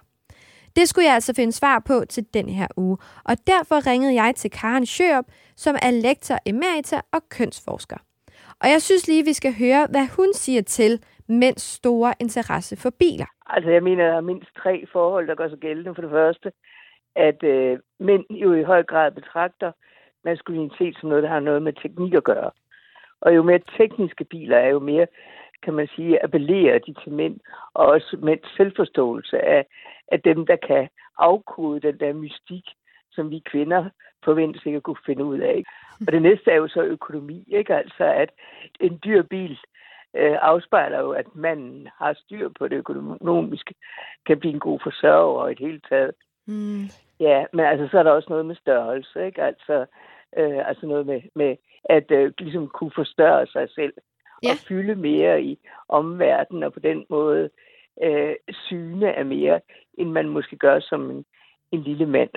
Speaker 14: Det skulle jeg altså finde svar på til den her uge, og derfor ringede jeg til Karen Sjøop, som er lektor emerita og kønsforsker. Og jeg synes lige, vi skal høre, hvad hun siger til mænds store interesse for biler.
Speaker 15: Altså, jeg mener, der er mindst tre forhold, der gør sig gældende. For det første, at øh, mænd jo i høj grad betragter maskulinitet som noget, der har noget med teknik at gøre. Og jo mere tekniske biler er, jo mere, kan man sige, appellerer de til mænd, og også mænds selvforståelse af, af dem, der kan afkode den der mystik, som vi kvinder forventes ikke at kunne finde ud af. Ikke? Og det næste er jo så økonomi, ikke? Altså, at en dyr bil øh, afspejler jo, at manden har styr på det økonomiske, kan blive en god forsørger og i det hele taget.
Speaker 14: Mm.
Speaker 15: Ja, men altså, så er der også noget med størrelse, ikke? Altså, øh, altså noget med, med at øh, ligesom kunne forstørre sig selv ja. og fylde mere i omverdenen, og på den måde øh, syne af mere, end man måske gør som en, en lille mand.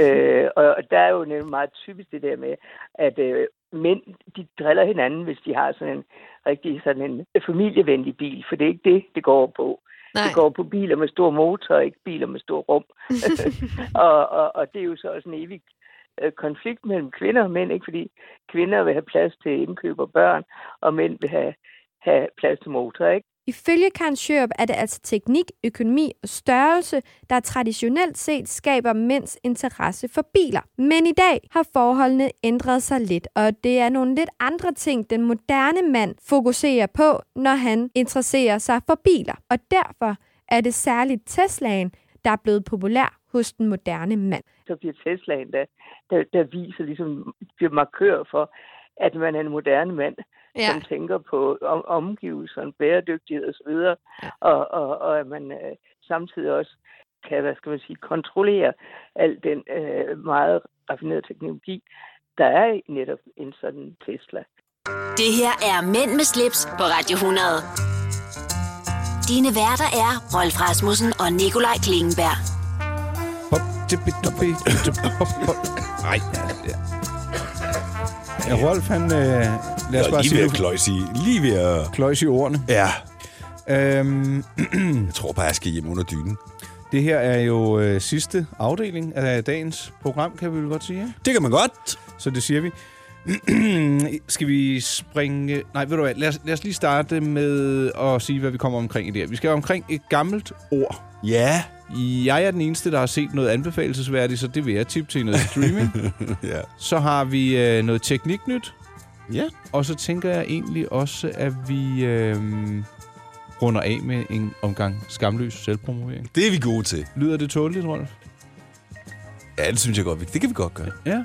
Speaker 15: øh, og der er jo nemlig meget typisk det der med, at øh, mænd, de driller hinanden, hvis de har sådan en rigtig sådan en familievenlig bil, for det er ikke det, det går på.
Speaker 14: Nej.
Speaker 15: Det går på biler med stor motor, ikke biler med stor rum. og, og, og det er jo så også en evig øh, konflikt mellem kvinder og mænd, ikke? fordi kvinder vil have plads til indkøb og børn, og mænd vil have, have plads til motor. Ikke?
Speaker 14: Ifølge Karen Sjørup er det altså teknik, økonomi og størrelse, der traditionelt set skaber mænds interesse for biler. Men i dag har forholdene ændret sig lidt, og det er nogle lidt andre ting, den moderne mand fokuserer på, når han interesserer sig for biler. Og derfor er det særligt Teslaen, der er blevet populær hos den moderne mand.
Speaker 15: så bliver Teslaen, der, der, der viser, ligesom bliver markør for, at man er en moderne mand, ja. som tænker på om, omgivelserne, bæredygtighed osv., ja. og, og, og at man øh, samtidig også kan, hvad skal man sige, kontrollere al den øh, meget raffinerede teknologi, der er i netop en sådan Tesla.
Speaker 1: Det her er Mænd med slips på Radio 100. Dine værter er Rolf Rasmussen og Nikolaj Klingenberg.
Speaker 2: Nej. Ja, Rolf, han... Øh, lad
Speaker 3: Jeg
Speaker 2: os
Speaker 3: er
Speaker 2: bare
Speaker 3: lige
Speaker 2: sige...
Speaker 3: ved
Speaker 2: nu-
Speaker 3: at kløjse i. Lige ved at...
Speaker 2: Kløjs i ordene.
Speaker 3: Ja.
Speaker 2: Øhm,
Speaker 3: jeg tror bare, jeg skal hjem under dynen.
Speaker 2: Det her er jo øh, sidste afdeling af dagens program, kan vi vel godt sige. Ikke?
Speaker 3: Det kan man godt.
Speaker 2: Så det siger vi. skal vi springe... Nej, ved du hvad, lad os, lad os lige starte med at sige, hvad vi kommer omkring i det her. Vi skal omkring et gammelt ord.
Speaker 3: Ja.
Speaker 2: Jeg er den eneste, der har set noget anbefalesværdigt, så det vil jeg tippe til i noget streaming.
Speaker 3: ja.
Speaker 2: Så har vi øh, noget tekniknyt.
Speaker 3: Ja.
Speaker 2: Og så tænker jeg egentlig også, at vi øh, runder af med en omgang skamløs selvpromovering.
Speaker 3: Det er vi gode til.
Speaker 2: Lyder det tåligt, Rolf?
Speaker 3: Ja, det synes jeg godt. vi- Det kan vi godt gøre.
Speaker 2: Ja.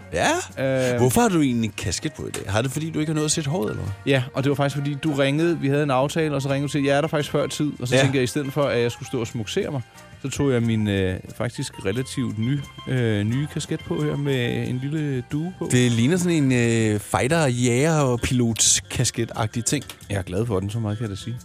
Speaker 3: Ja.
Speaker 2: Øh,
Speaker 3: Hvorfor har du egentlig en kasket på i dag? Har det, fordi du ikke har nået at sætte håret, eller hvad?
Speaker 2: Ja, og det var faktisk, fordi du ringede. Vi havde en aftale, og så ringede du til, jeg er der faktisk før tid. Og så
Speaker 3: Ja.
Speaker 2: ja. tænkte jeg, i stedet for, at jeg skulle stå og smuksere mig, så tog jeg min øh, faktisk relativt ny, øh, nye kasket på her med en lille due på.
Speaker 3: Det ligner sådan en øh, fighter, jæger og pilots kasket-agtig ting.
Speaker 2: Jeg er glad for den, så meget kan jeg da sige.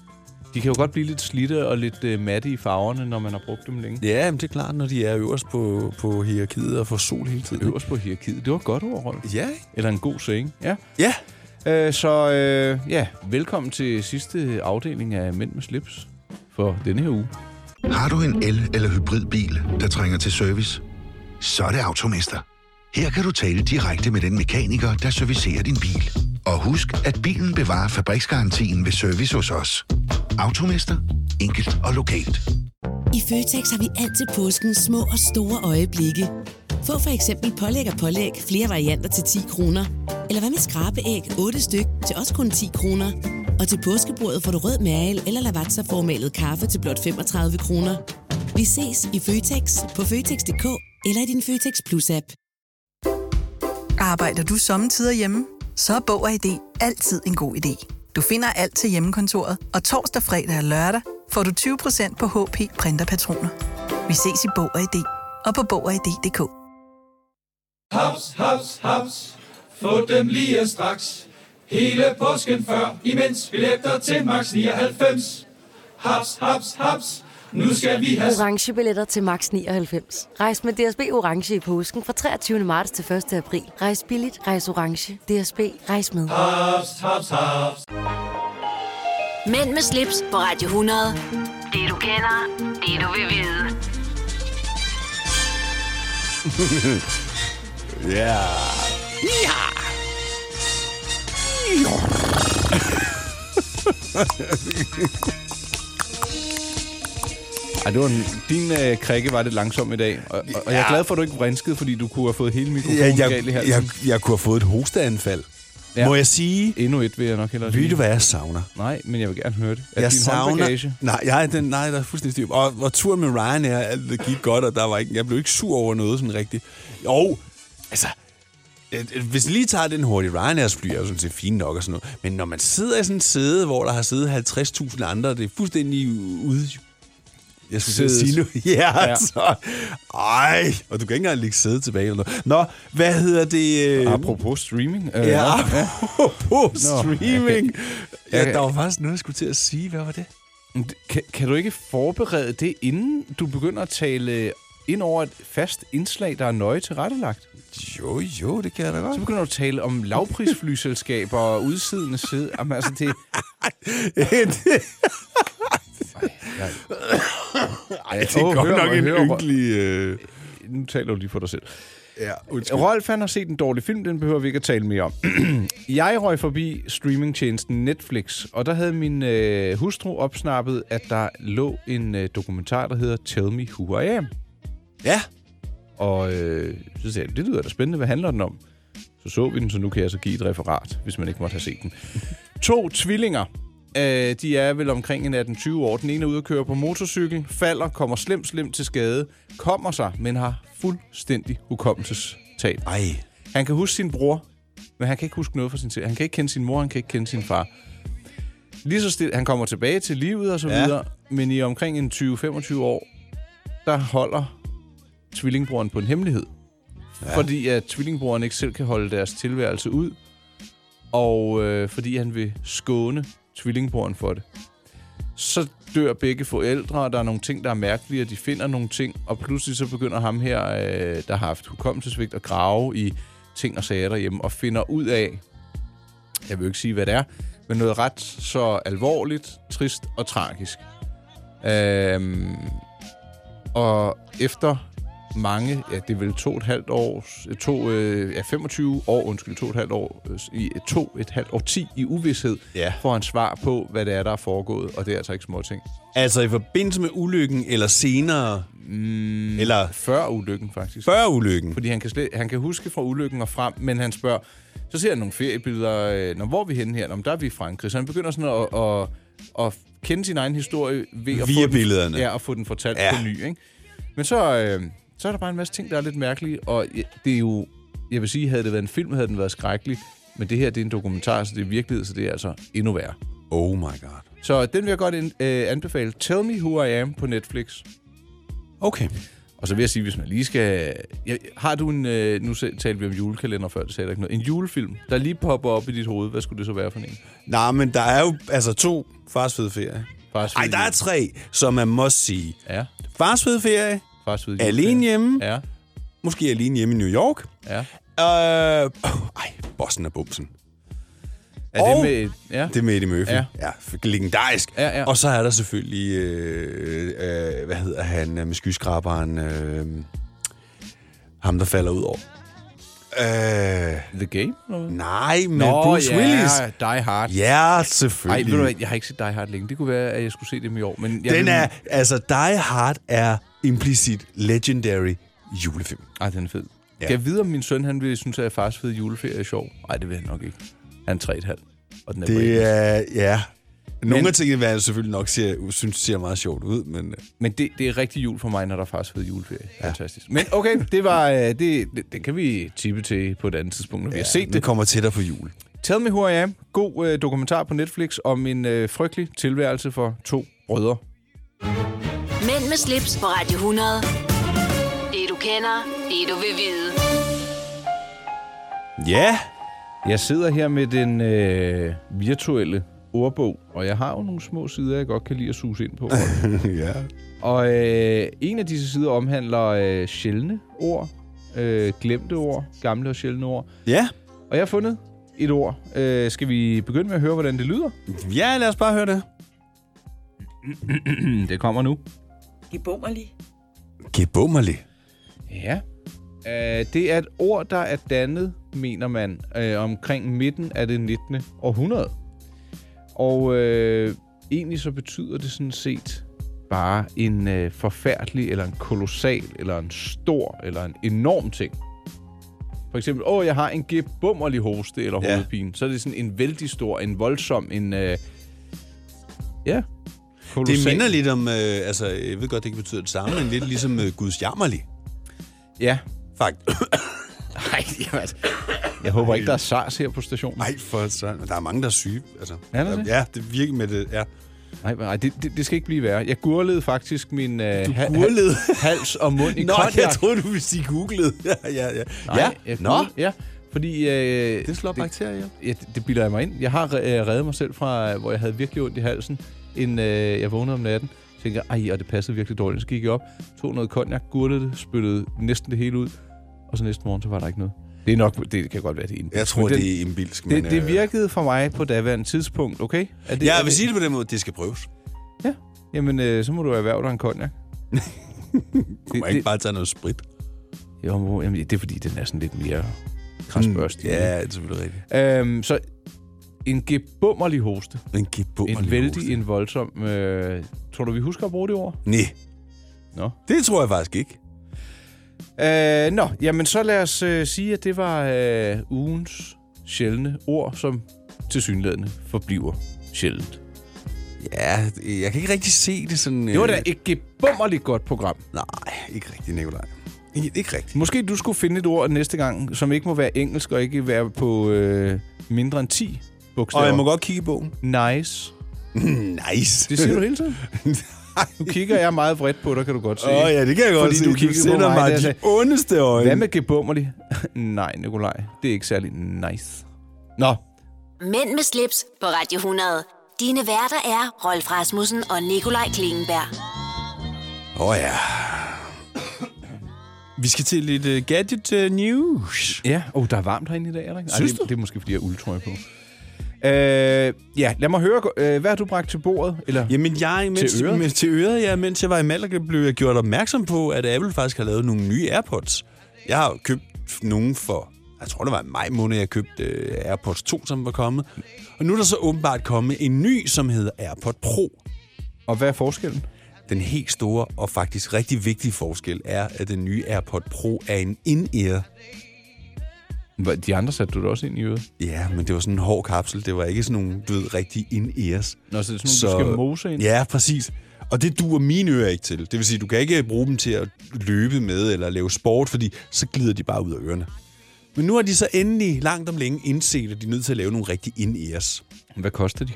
Speaker 2: De kan jo godt blive lidt slidte og lidt øh, matte i farverne, når man har brugt dem længe.
Speaker 3: Ja, men det er klart, når de er øverst på, på hierarkiet og får sol hele tiden.
Speaker 2: Øverst på hierarkiet. Det var et godt ord, Rolf.
Speaker 3: Ja.
Speaker 2: Eller en god seng. Ja.
Speaker 3: Ja.
Speaker 2: Øh, så øh, ja, velkommen til sidste afdeling af Mænd med slips for denne her uge.
Speaker 16: Har du en el- eller hybridbil, der trænger til service? Så er det Automester. Her kan du tale direkte med den mekaniker, der servicerer din bil. Og husk, at bilen bevarer fabriksgarantien ved service hos os. Automester. Enkelt og lokalt.
Speaker 5: I Føtex har vi altid påsken små og store øjeblikke. Få for eksempel pålæg og pålæg flere varianter til 10 kroner. Eller hvad med skrabeæg 8 styk til også kun 10 kroner. Og til påskebordet får du rød mal eller lavatserformalet kaffe til blot 35 kroner. Vi ses i Føtex på Føtex.dk eller i din Føtex Plus-app.
Speaker 6: Arbejder du sommetider hjemme? Så er Bog og ID altid en god idé. Du finder alt til hjemmekontoret, og torsdag, fredag og lørdag får du 20% på HP printerpatroner. Vi ses i Bog og ID og på Bog og ID.dk.
Speaker 17: Haps, haps, haps. Få dem lige straks. Hele påsken før, imens billetter til max 99. Haps, haps, haps. Nu skal vi have...
Speaker 18: orange billetter til max 99. Rejs med DSB orange i påsken fra 23. marts til 1. april. Rejs billigt, rejs orange. DSB rejs med.
Speaker 17: Haps, haps, haps.
Speaker 1: Mænd med slips på Radio 100. Det du kender, det du vil vide.
Speaker 3: ja.
Speaker 1: Ja!
Speaker 2: Ej, det var en, din øh, krikke var lidt langsom i dag, og, og, og jeg er
Speaker 3: Ja.
Speaker 2: glad for, at du ikke vrinskede, fordi du kunne have fået hele mikrofonen
Speaker 3: Ja, jeg,
Speaker 2: galt i
Speaker 3: jeg,
Speaker 2: halsen.
Speaker 3: jeg, jeg kunne have fået et hosteanfald. Ja. Må jeg sige?
Speaker 2: Endnu et vil jeg nok hellere
Speaker 3: Ved
Speaker 2: sige.
Speaker 3: du, hvad jeg savner?
Speaker 2: Nej, men jeg vil gerne høre det. Er
Speaker 3: jeg
Speaker 2: din håndbagage?
Speaker 3: Nej, jeg, den, nej, der er fuldstændig styr. på. Og, og turen med Ryan er, alt det gik godt, og der var ikke, jeg blev ikke sur over noget sådan rigtigt. Jo, altså, et- et- hvis jeg lige tager den hurtigt, Ryanairs fly er jo sådan set fint nok og sådan noget. Men når man sidder i sådan et sæde, hvor der har siddet 50.000 andre, det er fuldstændig ude... Jeg skulle til at
Speaker 2: Sædet.
Speaker 3: sige nu. Ja,
Speaker 2: Ja.
Speaker 3: ja. Så. Ej, og du kan ikke engang ligge sæde tilbage eller noget. Nå, hvad hedder det? øh,
Speaker 2: Apropos streaming. Øh,
Speaker 3: Ja,
Speaker 2: nå,
Speaker 3: apropos
Speaker 2: Nå,
Speaker 3: streaming.
Speaker 2: jeg
Speaker 3: Ja,
Speaker 2: kan-
Speaker 3: der var faktisk noget, jeg skulle til at sige. Hvad var det?
Speaker 2: Kan, kan du ikke forberede det, inden du begynder at tale ind over et fast indslag, der er nøje tilrettelagt?
Speaker 3: Jo, jo, det kan jeg da godt.
Speaker 2: Så begynder du at tale om lavprisflyselskaber og udsidende side. Jamen, altså, det...
Speaker 3: Ej, det er godt nok en ynkelig... Øh...
Speaker 2: Nu taler du lige for dig selv.
Speaker 3: Ja,
Speaker 2: Undskyld. Rolf han har set en dårlig film, den behøver vi ikke at tale mere om. jeg røg forbi streamingtjenesten Netflix, og der havde min øh, hustru opsnappet, at der lå en øh, dokumentar, der hedder Tell Me Who I Am.
Speaker 3: Ja.
Speaker 2: Og øh, så sagde jeg, det lyder da spændende, hvad handler den om? Så så vi den, så nu kan jeg så give et referat, hvis man ikke måtte have set den. to tvillinger. Øh, de er vel omkring en 18-20 år. Den ene er ude at køre på motorcykel, falder, kommer slemt, slemt til skade, kommer sig, men har fuldstændig hukommelsestab.
Speaker 3: Ej.
Speaker 2: Han kan huske sin bror, men han kan ikke huske noget fra sin tid. Han kan ikke kende sin mor, han kan ikke kende sin far. Lige så stille, han kommer tilbage til livet og så
Speaker 3: Ja.
Speaker 2: ja. videre, men i omkring en 20-25 år, der holder tvillingbroren på en hemmelighed. Ja. Fordi at tvillingbroren ikke selv kan holde deres tilværelse ud, og øh, fordi han vil skåne tvillingbroren for det. Så dør begge forældre, og der er nogle ting, der er mærkelige, og de finder nogle ting, og pludselig så begynder ham her, øh, der har haft hukommelsesvigt, at grave i ting og sager derhjemme, og finder ud af, jeg vil jo ikke sige, hvad det er, men noget ret så alvorligt, trist og tragisk. Øhm, og efter mange, ja, det er vel to og et halvt år, to, øh, ja, 25 år, undskyld, to og et halvt år, øh, i to et halvt år, ti i uvidshed, ja. får han svar på, hvad det er, der er foregået, og det er altså ikke småting.
Speaker 3: Altså i forbindelse med ulykken, eller senere?
Speaker 2: Mm,
Speaker 3: eller
Speaker 2: før ulykken, faktisk.
Speaker 3: Før ulykken?
Speaker 2: Fordi han kan, slet, han kan huske fra ulykken og frem, men han spørger, så ser han nogle feriebilleder, øh, når hvor er vi henne her? Nå, men der er vi i Frankrig. Så han begynder sådan at, at, at, at kende sin egen historie ved at
Speaker 3: Via
Speaker 2: få
Speaker 3: billederne.
Speaker 2: Den, ja, og få den fortalt
Speaker 3: Ja.
Speaker 2: ja. på ny, ikke? Men så, øh, så er der bare en masse ting, der er lidt mærkelige, og ja, det er jo, jeg vil sige, havde det været en film, havde den været skrækkelig, men det her, det er en dokumentar, så det er virkelighed, så det er altså endnu værre.
Speaker 3: Oh my god.
Speaker 2: Så den vil jeg godt ind- øh, anbefale. Tell Me Who I Am på Netflix.
Speaker 3: Okay.
Speaker 2: Og så vil jeg sige, hvis man lige skal... Ja, har du en... Øh, nu se- talte vi om julekalender før, det sagde jeg ikke noget. En julefilm, der lige popper op i dit hoved. Hvad skulle det så være for en?
Speaker 3: Nej, men der er jo altså to Fars Fede Ferie.
Speaker 2: Fars
Speaker 3: Ej, der er tre, som man må sige.
Speaker 2: Ja.
Speaker 3: Fars Fede Ferie,
Speaker 2: Fars fede
Speaker 3: Alene Hjemme,
Speaker 2: ja.
Speaker 3: måske Alene Hjemme i New York.
Speaker 2: Ja.
Speaker 3: Øh, ej, Bossen og Bumsen.
Speaker 2: Er det med- ja.
Speaker 3: Det er med Eddie Murphy.
Speaker 2: Ja.
Speaker 3: Ja. ja f- legendarisk.
Speaker 2: Ja, ja.
Speaker 3: Og så er der selvfølgelig, øh, øh, hvad hedder han, øh, med skyskraberen, øh, ham der falder ud over. Øh,
Speaker 2: The Game? Eller?
Speaker 3: Nej, men Nå, Bruce
Speaker 2: ja,
Speaker 3: Willis.
Speaker 2: Die Hard.
Speaker 3: Ja,
Speaker 2: Ej,
Speaker 3: selvfølgelig.
Speaker 2: ved du hvad, jeg har ikke set Die Hard længe. Det kunne være, at jeg skulle se dem i år. Men jeg
Speaker 3: Den
Speaker 2: vil-
Speaker 3: er, altså Die Hard er implicit legendary julefilm.
Speaker 2: Ej, den er fed.
Speaker 3: Ja.
Speaker 2: Ja. Kan jeg vide, om min søn han vil synes, at fars fede juleferie er sjov? Nej, det vil han nok ikke. Han er 3,5. Og den er på engelsk.
Speaker 3: Det er, ja. Nogle
Speaker 2: Men-
Speaker 3: af tingene, hvad jeg selvfølgelig nok ser, synes ser meget sjovt ud, men... øh,
Speaker 2: Men det, det er rigtig jul for mig, når der er fars fede juleferie. Ja. Fantastisk. Men okay, det var øh, det, det, det kan vi tippe til på et andet tidspunkt, når ja, vi har set
Speaker 3: nu
Speaker 2: det.
Speaker 3: kommer tættere på jul.
Speaker 2: Tell Me Who I Am. God øh, dokumentar på Netflix om en øh, frygtelig tilværelse for to brødre.
Speaker 1: Mænd med slips på Radio 100. Det du kender, det du vil vide.
Speaker 3: Ja!
Speaker 2: Jeg sidder her med den øh, virtuelle ordbog, og jeg har jo nogle små sider, jeg godt kan lide at suse ind på.
Speaker 3: ja.
Speaker 2: Og øh, en af disse sider omhandler øh, sjældne ord, øh, glemte ord, gamle og sjældne ord.
Speaker 3: Ja.
Speaker 2: Og jeg har fundet et ord. Øh, skal vi begynde med at høre, hvordan det lyder?
Speaker 3: Ja, lad os bare høre det.
Speaker 2: det kommer nu.
Speaker 8: Gebummerlig.
Speaker 3: Gebummerlig.
Speaker 2: Ja. Øh, det er et ord, der er dannet, mener man, øh, omkring midten af det 19. århundrede. Og øh, egentlig så betyder det sådan set bare en øh, forfærdelig, eller en kolossal, eller en stor, eller en enorm ting. For eksempel, åh, jeg har en gebummerlig hoste eller
Speaker 3: Ja.
Speaker 2: hovedpine. Så er det sådan en vældig stor, en voldsom, en... Øh, ja.
Speaker 3: Det
Speaker 2: kolossal.
Speaker 3: minder lidt om, øh, altså jeg ved godt, det ikke betyder det samme, men lidt ligesom øh, Guds jammerlig.
Speaker 2: Ja.
Speaker 3: Fakt.
Speaker 2: Nej, jamen, altså, jeg håber ikke, der er SARS her på stationen.
Speaker 3: Nej, for sådan. Der er mange, der er syge. Altså,
Speaker 2: Er der det?
Speaker 3: Ja, det virker med det, ja.
Speaker 2: Nej, nej det, det, det skal ikke blive værre. Jeg gurlede faktisk min øh,
Speaker 3: Du
Speaker 2: ha-
Speaker 3: gurlede?
Speaker 2: ha- hals og mund i
Speaker 3: Nå,
Speaker 2: konjak.
Speaker 3: jeg troede, du ville sige googlede. ja, ja, ja.
Speaker 2: Nej,
Speaker 3: ja.
Speaker 2: jeg
Speaker 3: Nå,
Speaker 2: gurlede, ja. Fordi, øh, det
Speaker 3: slår bakterier ihjel.
Speaker 2: Ja, det, det bilder jeg mig ind. Jeg har øh, reddet mig selv fra, øh, hvor jeg havde virkelig ondt i halsen, inden øh, jeg vågnede om natten. Tænker, ej, og det passede virkelig dårligt. Så gik jeg op, tog noget konjak, gurlede det, spyttede næsten det hele ud. Og så næste morgen, så var der ikke noget. Det er nok, det kan godt være, det er en
Speaker 3: jeg tror, det er imbilsk.
Speaker 2: det,
Speaker 3: men,
Speaker 2: det
Speaker 3: øh,
Speaker 2: virkede for mig på daværende tidspunkt, okay? Er det,
Speaker 3: Ja,
Speaker 2: er
Speaker 3: jeg vil sige det på den måde, det skal prøves.
Speaker 2: Jamen, øh, så må du erhverve dig en konjak.
Speaker 3: Du må ikke bare tage noget sprit.
Speaker 2: Jo, men, jamen, det er fordi, den er sådan lidt mere kransbørstig.
Speaker 3: Mm, ja, det er selvfølgelig rigtigt.
Speaker 2: Øhm, så en gebummerlig hoste.
Speaker 3: En gebummerlig
Speaker 2: En vældig, hoste. en voldsom... Øh, tror du, vi husker at bruge det ord?
Speaker 3: Nej.
Speaker 2: Nå.
Speaker 3: Det tror jeg faktisk ikke.
Speaker 2: Øh, nå, jamen så lad os øh, sige, at det var øh, ugens sjældne ord, som til synlædende forbliver sjældent.
Speaker 3: Ja, jeg kan ikke rigtig se det sådan...
Speaker 2: Det var
Speaker 3: øh,
Speaker 2: da et gebummerligt godt program.
Speaker 3: Nej, ikke rigtigt, Nikolaj. Ikke, ikke rigtigt.
Speaker 2: Måske du skulle finde et ord næste gang, som ikke må være engelsk og ikke være på øh, mindre end 10 bogstaver.
Speaker 3: Og jeg må godt kigge i bogen.
Speaker 2: Nice.
Speaker 3: nice.
Speaker 2: Det siger du hele tiden. Nu kigger jeg meget vredt på dig, kan du godt se.
Speaker 3: Åh oh, ja, det kan jeg godt
Speaker 2: Fordi
Speaker 3: se.
Speaker 2: du kigger på
Speaker 3: sender
Speaker 2: mig,
Speaker 3: mig
Speaker 2: der
Speaker 3: de
Speaker 2: sagde,
Speaker 3: ondeste øjne.
Speaker 2: Hvad med gebummerlig? Nej, Nikolaj. Det er ikke særlig nice. Nå,
Speaker 1: Mænd med slips på Radio 100. Dine værter er Rolf Rasmussen og Nikolaj Klingenberg.
Speaker 3: Åh oh, ja. Vi skal til lidt uh, gadget uh, news.
Speaker 2: ja. Oh, der er varmt herinde i dag, er der ikke? Ej,
Speaker 3: Synes
Speaker 2: det,
Speaker 3: du?
Speaker 2: det er måske, fordi jeg har uldtrøje på. Øh, ja, lad mig høre, øh, hvad har du bragt til bordet? Eller
Speaker 3: Jamen, jeg, mens,
Speaker 2: til øret?
Speaker 3: Mens, til øret, ja, mens jeg var i Malaga, blev jeg gjort opmærksom på, at Apple faktisk har lavet nogle nye AirPods. Jeg har jo købt nogle for, jeg tror det var i maj måned, jeg købte øh, AirPods 2, som var kommet. Og nu er der så åbenbart kommet en ny, som hedder AirPod Pro.
Speaker 2: Og hvad er forskellen?
Speaker 3: Den helt store og faktisk rigtig vigtige forskel er, at den nye AirPod Pro er en in-ear.
Speaker 2: De andre satte du da også ind i øret?
Speaker 3: Ja, men det var sådan en hård kapsel. Det var ikke sådan nogle, du ved, rigtig in-ears.
Speaker 2: Nå, så det er sådan nogle, du skal mose ind?
Speaker 3: Ja, præcis. Og det duer mine ører ikke til. Det vil sige, du kan ikke bruge dem til at løbe med eller lave sport, fordi så glider de bare ud af ørerne. Men nu har de så endelig langt om længe indset, at de er nødt til at lave nogle rigtig in-ears.
Speaker 2: Hvad koster de?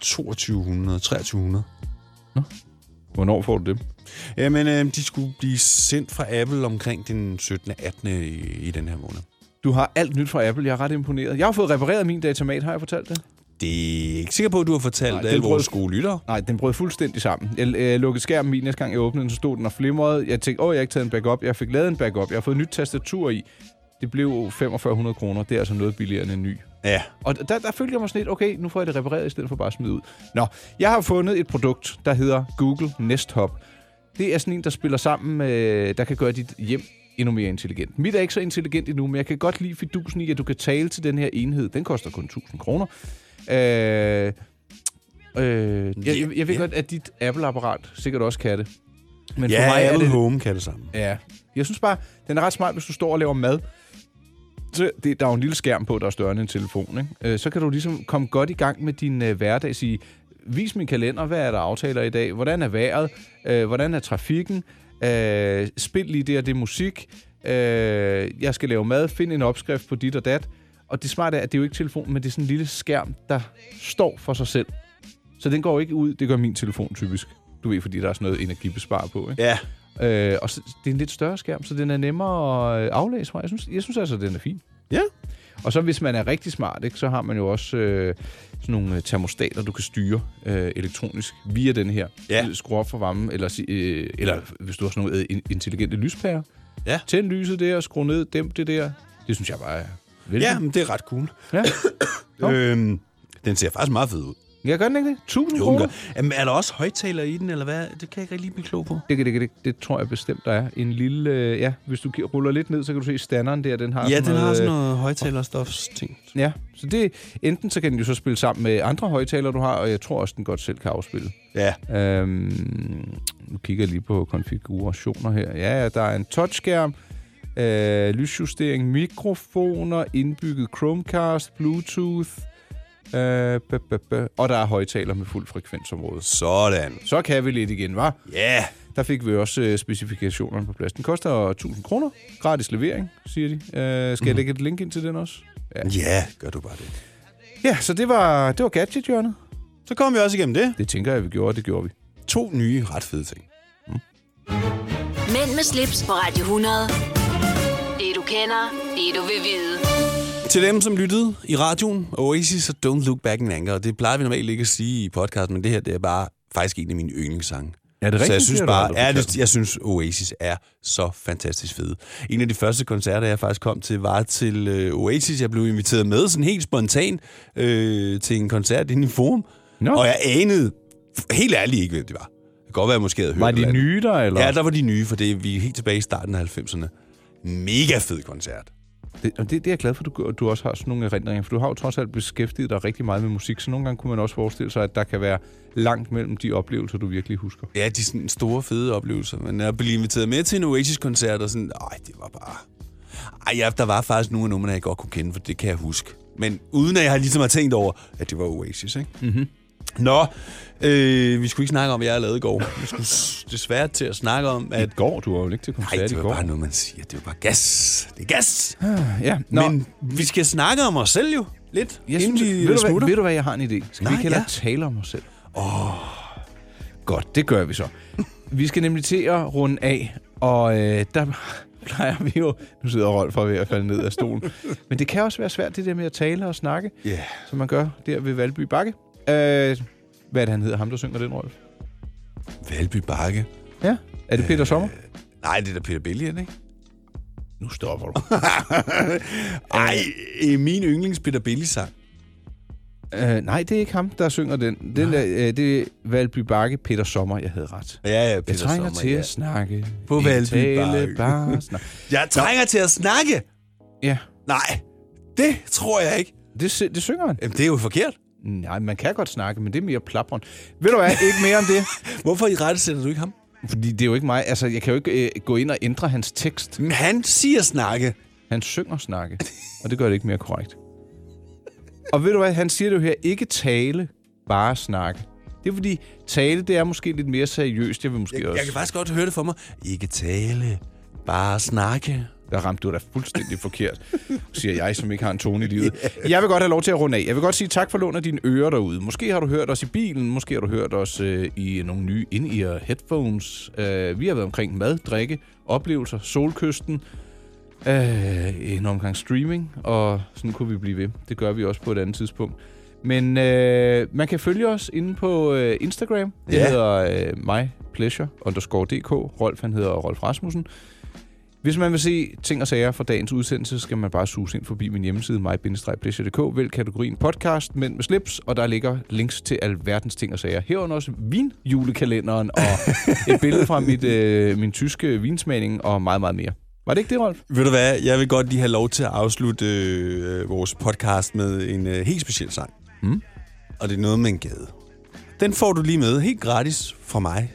Speaker 3: 2200, 2300.
Speaker 2: Hvornår får du dem?
Speaker 3: Jamen, øh, de skulle blive sendt fra Apple omkring den 17. 18. i, i den her måned.
Speaker 2: Du har alt nyt fra Apple. Jeg er ret imponeret. Jeg har fået repareret min datamat, har jeg fortalt det?
Speaker 3: Det er ikke sikker på, at du har fortalt
Speaker 2: Nej,
Speaker 3: Nej,
Speaker 2: den
Speaker 3: alle vores
Speaker 2: brød-
Speaker 3: gode lyttere.
Speaker 2: Nej, den brød fuldstændig sammen. Jeg øh, lukkede skærmen min næste gang, jeg åbnede den, så stod den og flimrede. Jeg tænkte, åh, jeg har ikke taget en backup. Jeg fik lavet en backup. Jeg har fået nyt tastatur i. Det blev 4500 kroner. Det er altså noget billigere end en ny.
Speaker 3: Ja.
Speaker 2: Og der, der følte jeg mig sådan lidt, okay, nu får jeg det repareret, i stedet for bare at smide ud. Nå, jeg har fundet et produkt, der hedder Google Nest Hub. Det er sådan en, der spiller sammen med, der kan gøre dit hjem endnu mere intelligent. Mit er ikke så intelligent endnu, men jeg kan godt lide fidusen i, at du kan tale til den her enhed. Den koster kun 1000 kroner. Øh, øh, jeg, jeg, jeg ved godt, at dit Apple-apparat sikkert også kan det. Men
Speaker 3: ja,
Speaker 2: for mig
Speaker 3: Apple
Speaker 2: er det,
Speaker 3: Home kan det sammen.
Speaker 2: Ja. Jeg synes bare, den er ret smart, hvis du står og laver mad. Så det, der er jo en lille skærm på, der er større end en telefon. Ikke? Øh, så kan du ligesom komme godt i gang med din øh, hverdag. Sige, vis min kalender, hvad er der aftaler i dag? Hvordan er vejret? Øh, hvordan er trafikken? Øh, spil lige det og det musik. Øh, jeg skal lave mad. Find en opskrift på dit og dat. Og det smarte er, at det er jo ikke telefonen, men det er sådan en lille skærm, der står for sig selv. Så den går ikke ud. Det gør min telefon typisk. Du ved, fordi der er sådan noget energibespar på, ikke?
Speaker 3: Ja.
Speaker 2: Øh, og så, det er en lidt større skærm, så den er nemmere at øh, aflæse fra. Jeg synes, jeg synes altså, at den er fin.
Speaker 3: Ja.
Speaker 2: Og så hvis man er rigtig smart, ikke, så har man jo også øh, sådan nogle øh, termostater, du kan styre øh, elektronisk via den her.
Speaker 3: Ja.
Speaker 2: Skru op for varmen, eller, si- øh, eller hvis du har sådan nogle øh, in- intelligente lyspærer.
Speaker 3: Ja.
Speaker 2: Tænd lyset der, skru ned, dæmp det der. Det synes jeg bare er vældig.
Speaker 3: Ja, men det er ret cool.
Speaker 2: Ja.
Speaker 3: øhm, den ser faktisk meget fed ud.
Speaker 2: Jeg gør den ikke det? 1000
Speaker 3: Jo, den
Speaker 2: kroner?
Speaker 3: gør. Jamen, er der også højtaler i den, eller hvad? Det kan jeg ikke rigtig blive klog på.
Speaker 2: Det, det, det, det, det tror jeg bestemt, der er. En lille, øh, ja, hvis du gi- ruller lidt ned, så kan du se standeren der, den har
Speaker 3: Ja,
Speaker 2: sådan
Speaker 3: den
Speaker 2: noget,
Speaker 3: har sådan
Speaker 2: øh,
Speaker 3: noget højtalerstofs-ting.
Speaker 2: Ja, så det, enten så kan den jo så spille sammen med andre højtalere, du har, og jeg tror også, den godt selv kan afspille.
Speaker 3: Ja.
Speaker 2: Øhm, nu kigger jeg lige på konfigurationer her. Ja, ja, der er en touchskærm, øh, lysjustering, mikrofoner, indbygget Chromecast, Bluetooth, øh, bø, bø, bø, og der er højtaler med fuld frekvensområde.
Speaker 3: Sådan.
Speaker 2: Så kan vi lidt igen, var?
Speaker 3: Ja. Yeah.
Speaker 2: Der fik vi også øh, specifikationerne på plads. Den koster 1000 kroner. Gratis levering, siger de. Øh, skal mm. jeg lægge et link ind til den også? Ja.
Speaker 3: Ja, gør du bare det.
Speaker 2: Ja, så det var, det var gadget -hjørnet.
Speaker 3: Så kom vi også igennem det.
Speaker 2: Det tænker jeg, vi gjorde, og det gjorde vi.
Speaker 3: To nye ret fede ting.
Speaker 1: Mænd med slips på Radio 100. Det du kender, det du vil vide.
Speaker 3: Til dem, som lyttede i radioen, Oasis og Don't Look Back in Anger, og det plejer vi normalt ikke at sige i podcasten, men det her det er bare faktisk en af mine yndlingssange.
Speaker 2: Er det
Speaker 3: Så
Speaker 2: rigtigt,
Speaker 3: jeg synes
Speaker 2: siger du,
Speaker 3: bare,
Speaker 2: eller
Speaker 3: ja,
Speaker 2: forkert?
Speaker 3: det, jeg synes Oasis er så fantastisk fede. En af de første koncerter, jeg faktisk kom til, var til øh, Oasis. Jeg blev inviteret med sådan helt spontan øh, til en koncert inde i Forum,
Speaker 2: no.
Speaker 3: og jeg anede helt ærligt ikke, hvem det var. Det kan godt være, jeg måske havde hørt
Speaker 2: Var
Speaker 3: et
Speaker 2: de
Speaker 3: eller andet.
Speaker 2: nye der, eller?
Speaker 3: Ja, der var de nye, for det, vi er helt tilbage i starten af 90'erne. Mega fed koncert.
Speaker 2: Det, og det, det er jeg glad for, at du, gør- du også har sådan nogle erindringer, for du har jo trods alt beskæftiget dig rigtig meget med musik, så nogle gange kunne man også forestille sig, at der kan være langt mellem de oplevelser, du virkelig husker.
Speaker 3: Ja, de sådan store, fede oplevelser. Men at blive inviteret med til en Oasis-koncert, og sådan, nej, det var bare... Ej, ja, der var faktisk nogle af numrene, jeg godt kunne kende, for det kan jeg huske. Men uden at jeg har ligesom har tænkt over, at det var Oasis, ikke?
Speaker 2: Mm-hmm.
Speaker 3: Nå, øh, vi skulle ikke snakke om, hvad jeg har lavet i går. Vi skulle s- desværre til at snakke om, at...
Speaker 2: I går? Du var jo ikke til koncert
Speaker 3: Nej, det
Speaker 2: i
Speaker 3: var
Speaker 2: går.
Speaker 3: bare noget, man siger. Det var bare gas. Det er gas.
Speaker 2: Ja, nå.
Speaker 3: Men vi skal snakke om os selv jo. Lidt.
Speaker 2: Jeg
Speaker 3: inden
Speaker 2: synes,
Speaker 3: vi,
Speaker 2: ved,
Speaker 3: øh,
Speaker 2: du hvad,
Speaker 3: smutter.
Speaker 2: ved du hvad, jeg har en idé? Skal Nej,
Speaker 3: Nej,
Speaker 2: vi ikke hellere
Speaker 3: ja.
Speaker 2: ja. tale om os selv? Åh, oh, godt, det gør vi så. vi skal nemlig til at runde af, og øh, der plejer vi jo... Nu sidder Rolf for ved at falde ned af stolen. Men det kan også være svært, det der med at tale og snakke,
Speaker 3: Ja.
Speaker 2: som man gør der ved Valby Bakke. Øh, hvad er det, han hedder, ham der synger den, Rolf?
Speaker 3: Valby Bakke.
Speaker 2: Ja, Øh, er det Peter Sommer?
Speaker 3: Nej, det er da Peter Bellion, ikke?
Speaker 2: Nu stopper du.
Speaker 3: Ej, øh, min yndlings Peter Belli-sang.
Speaker 2: Øh, nej, det er ikke ham, der synger den. Den der, øh, det er Valby Bakke, Peter Sommer, jeg havde ret.
Speaker 3: Ja, ja, Peter
Speaker 2: Jeg trænger
Speaker 3: Sommer,
Speaker 2: til
Speaker 3: ja.
Speaker 2: at snakke.
Speaker 3: På
Speaker 2: i
Speaker 3: Valby
Speaker 2: tale,
Speaker 3: Bakke.
Speaker 2: bare snak.
Speaker 3: Jeg trænger til at snakke.
Speaker 2: Ja.
Speaker 3: Nej, det tror jeg ikke.
Speaker 2: Det, sy- det synger han.
Speaker 3: Jamen, det er jo forkert.
Speaker 2: Nej, man kan godt snakke, men det er mere plapron. Ved du hvad, ikke mere om det.
Speaker 3: Hvorfor i rette sætter du ikke ham?
Speaker 2: Fordi det er jo ikke mig. Altså, jeg kan jo ikke øh, gå ind og ændre hans tekst.
Speaker 3: Men han siger snakke.
Speaker 2: Han synger snakke, og det gør det ikke mere korrekt. Og ved du hvad, han siger det jo her, ikke tale, bare snakke. Det er fordi, tale, det er måske lidt mere seriøst. Jeg vil måske også...
Speaker 3: Jeg kan faktisk godt høre det for mig. Ikke tale, bare snakke.
Speaker 2: Der ramte du da fuldstændig forkert, siger jeg, som ikke har en tone i livet. Jeg vil godt have lov til at runde af. Jeg vil godt sige tak for lån af dine ører derude. Måske har du hørt os i bilen, måske har du hørt os øh, i nogle nye in-ear headphones. Øh, vi har været omkring mad, drikke, oplevelser, solkysten, øh, en omgang streaming, og sådan kunne vi blive ved. Det gør vi også på et andet tidspunkt. Men øh, man kan følge os inde på øh, Instagram. Det
Speaker 3: Ja.
Speaker 2: hedder øh, mypleasure underscore dk. Rolf, han hedder Rolf Rasmussen. Hvis man vil se ting og sager fra dagens udsendelse, så skal man bare suge ind forbi min hjemmeside, mig-pleasure.dk, vælg kategorien podcast, men med slips, og der ligger links til alverdens ting og sager. Herunder også vinjulekalenderen og et billede fra mit, øh, min tyske vinsmagning og meget, meget mere. Var det ikke det, Rolf?
Speaker 3: Ved du hvad, jeg vil godt lige have lov til at afslutte øh, vores podcast med en øh, helt speciel sang.
Speaker 2: Mm.
Speaker 3: Og det er noget med en gade. Den får du lige med, helt gratis fra mig.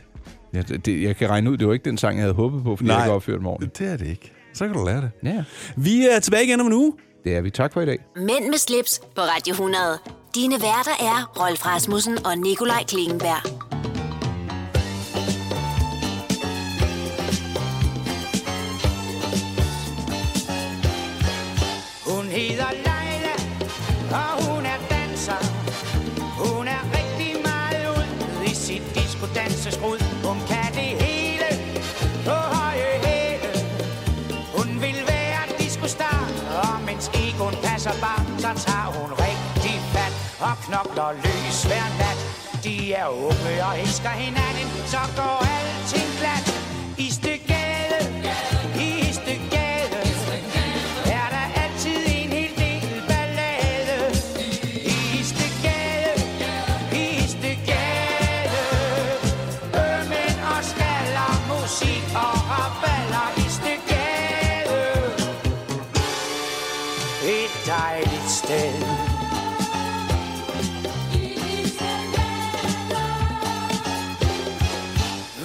Speaker 2: Ja, det, det, jeg kan regne ud, det var ikke den sang, jeg havde håbet på, fordi Nej. jeg
Speaker 3: Nej.
Speaker 2: ikke opførte dem ordentligt.
Speaker 3: Det er det ikke. Så kan du lære det.
Speaker 2: Ja.
Speaker 3: Vi er tilbage igen om en uge.
Speaker 2: Det er vi. Tak for i dag.
Speaker 1: Mænd med slips på Radio 100. Dine værter er Rolf Rasmussen og Nikolaj Klingenberg.
Speaker 17: Hun hedder Leila, og hun er danser. Hun er rigtig meget ud i sit diskodanseskrud. Hun kan det hele på høje hæle. Hun vil være diskostar, og mens Egon passer bar, så tager hun rigtig fat og knokler løs hver nat. De er unge og elsker hinanden, så går alting glat. I stykkade, i stykkade, er der altid en hel del ballade. I stykkade, i stykkade, ømmen og skaller, musik og raballer i stykkade. Et dejligt sted.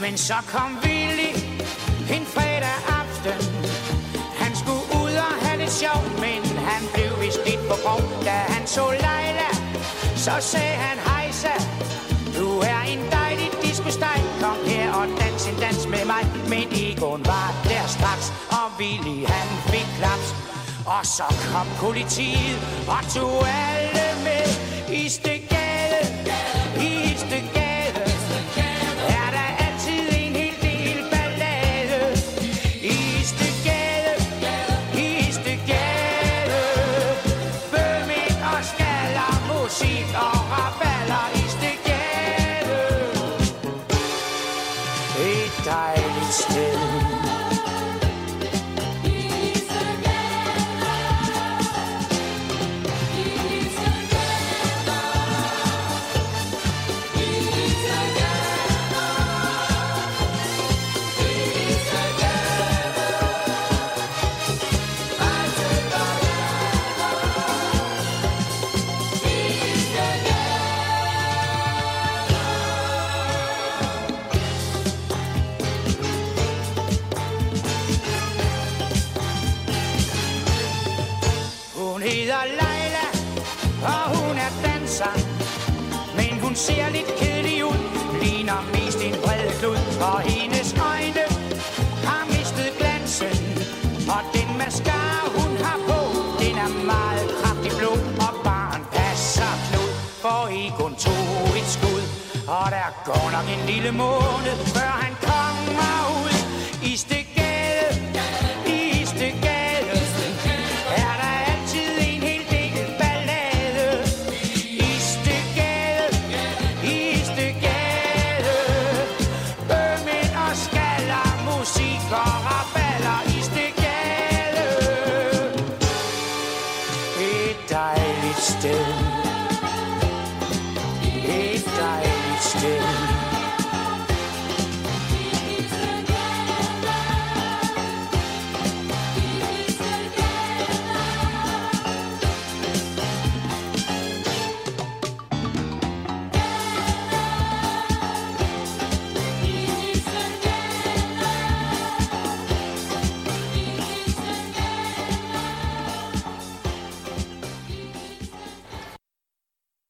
Speaker 17: Men så kom Willy en fredag aften. Han skulle ud og have lidt sjov, men han blev vist lidt på grov. Da han så Leila, så sagde han hejsa. Du er en dejlig diskosteg, kom her og dans en dans med mig. Men Egon var der straks, og Willy han fik klaps. Og så kom politiet og tog alle med i stykkade, i stykkade. Er der altid en hel del ballade i stykkade, i stykkade. Bømming og skaller, musik og raballer i stykkade. Et dejligt sted. Hun hedder Leila, og hun er danser. Men hun ser lidt kedelig ud, ligner mest en bred klud. Og hendes øjne har mistet glansen. Og den mascara, hun har på, den er meget kraftig blå. Og barn passer klud, for Egon tog et skud. Og der går nok en lille måned, før han kommer.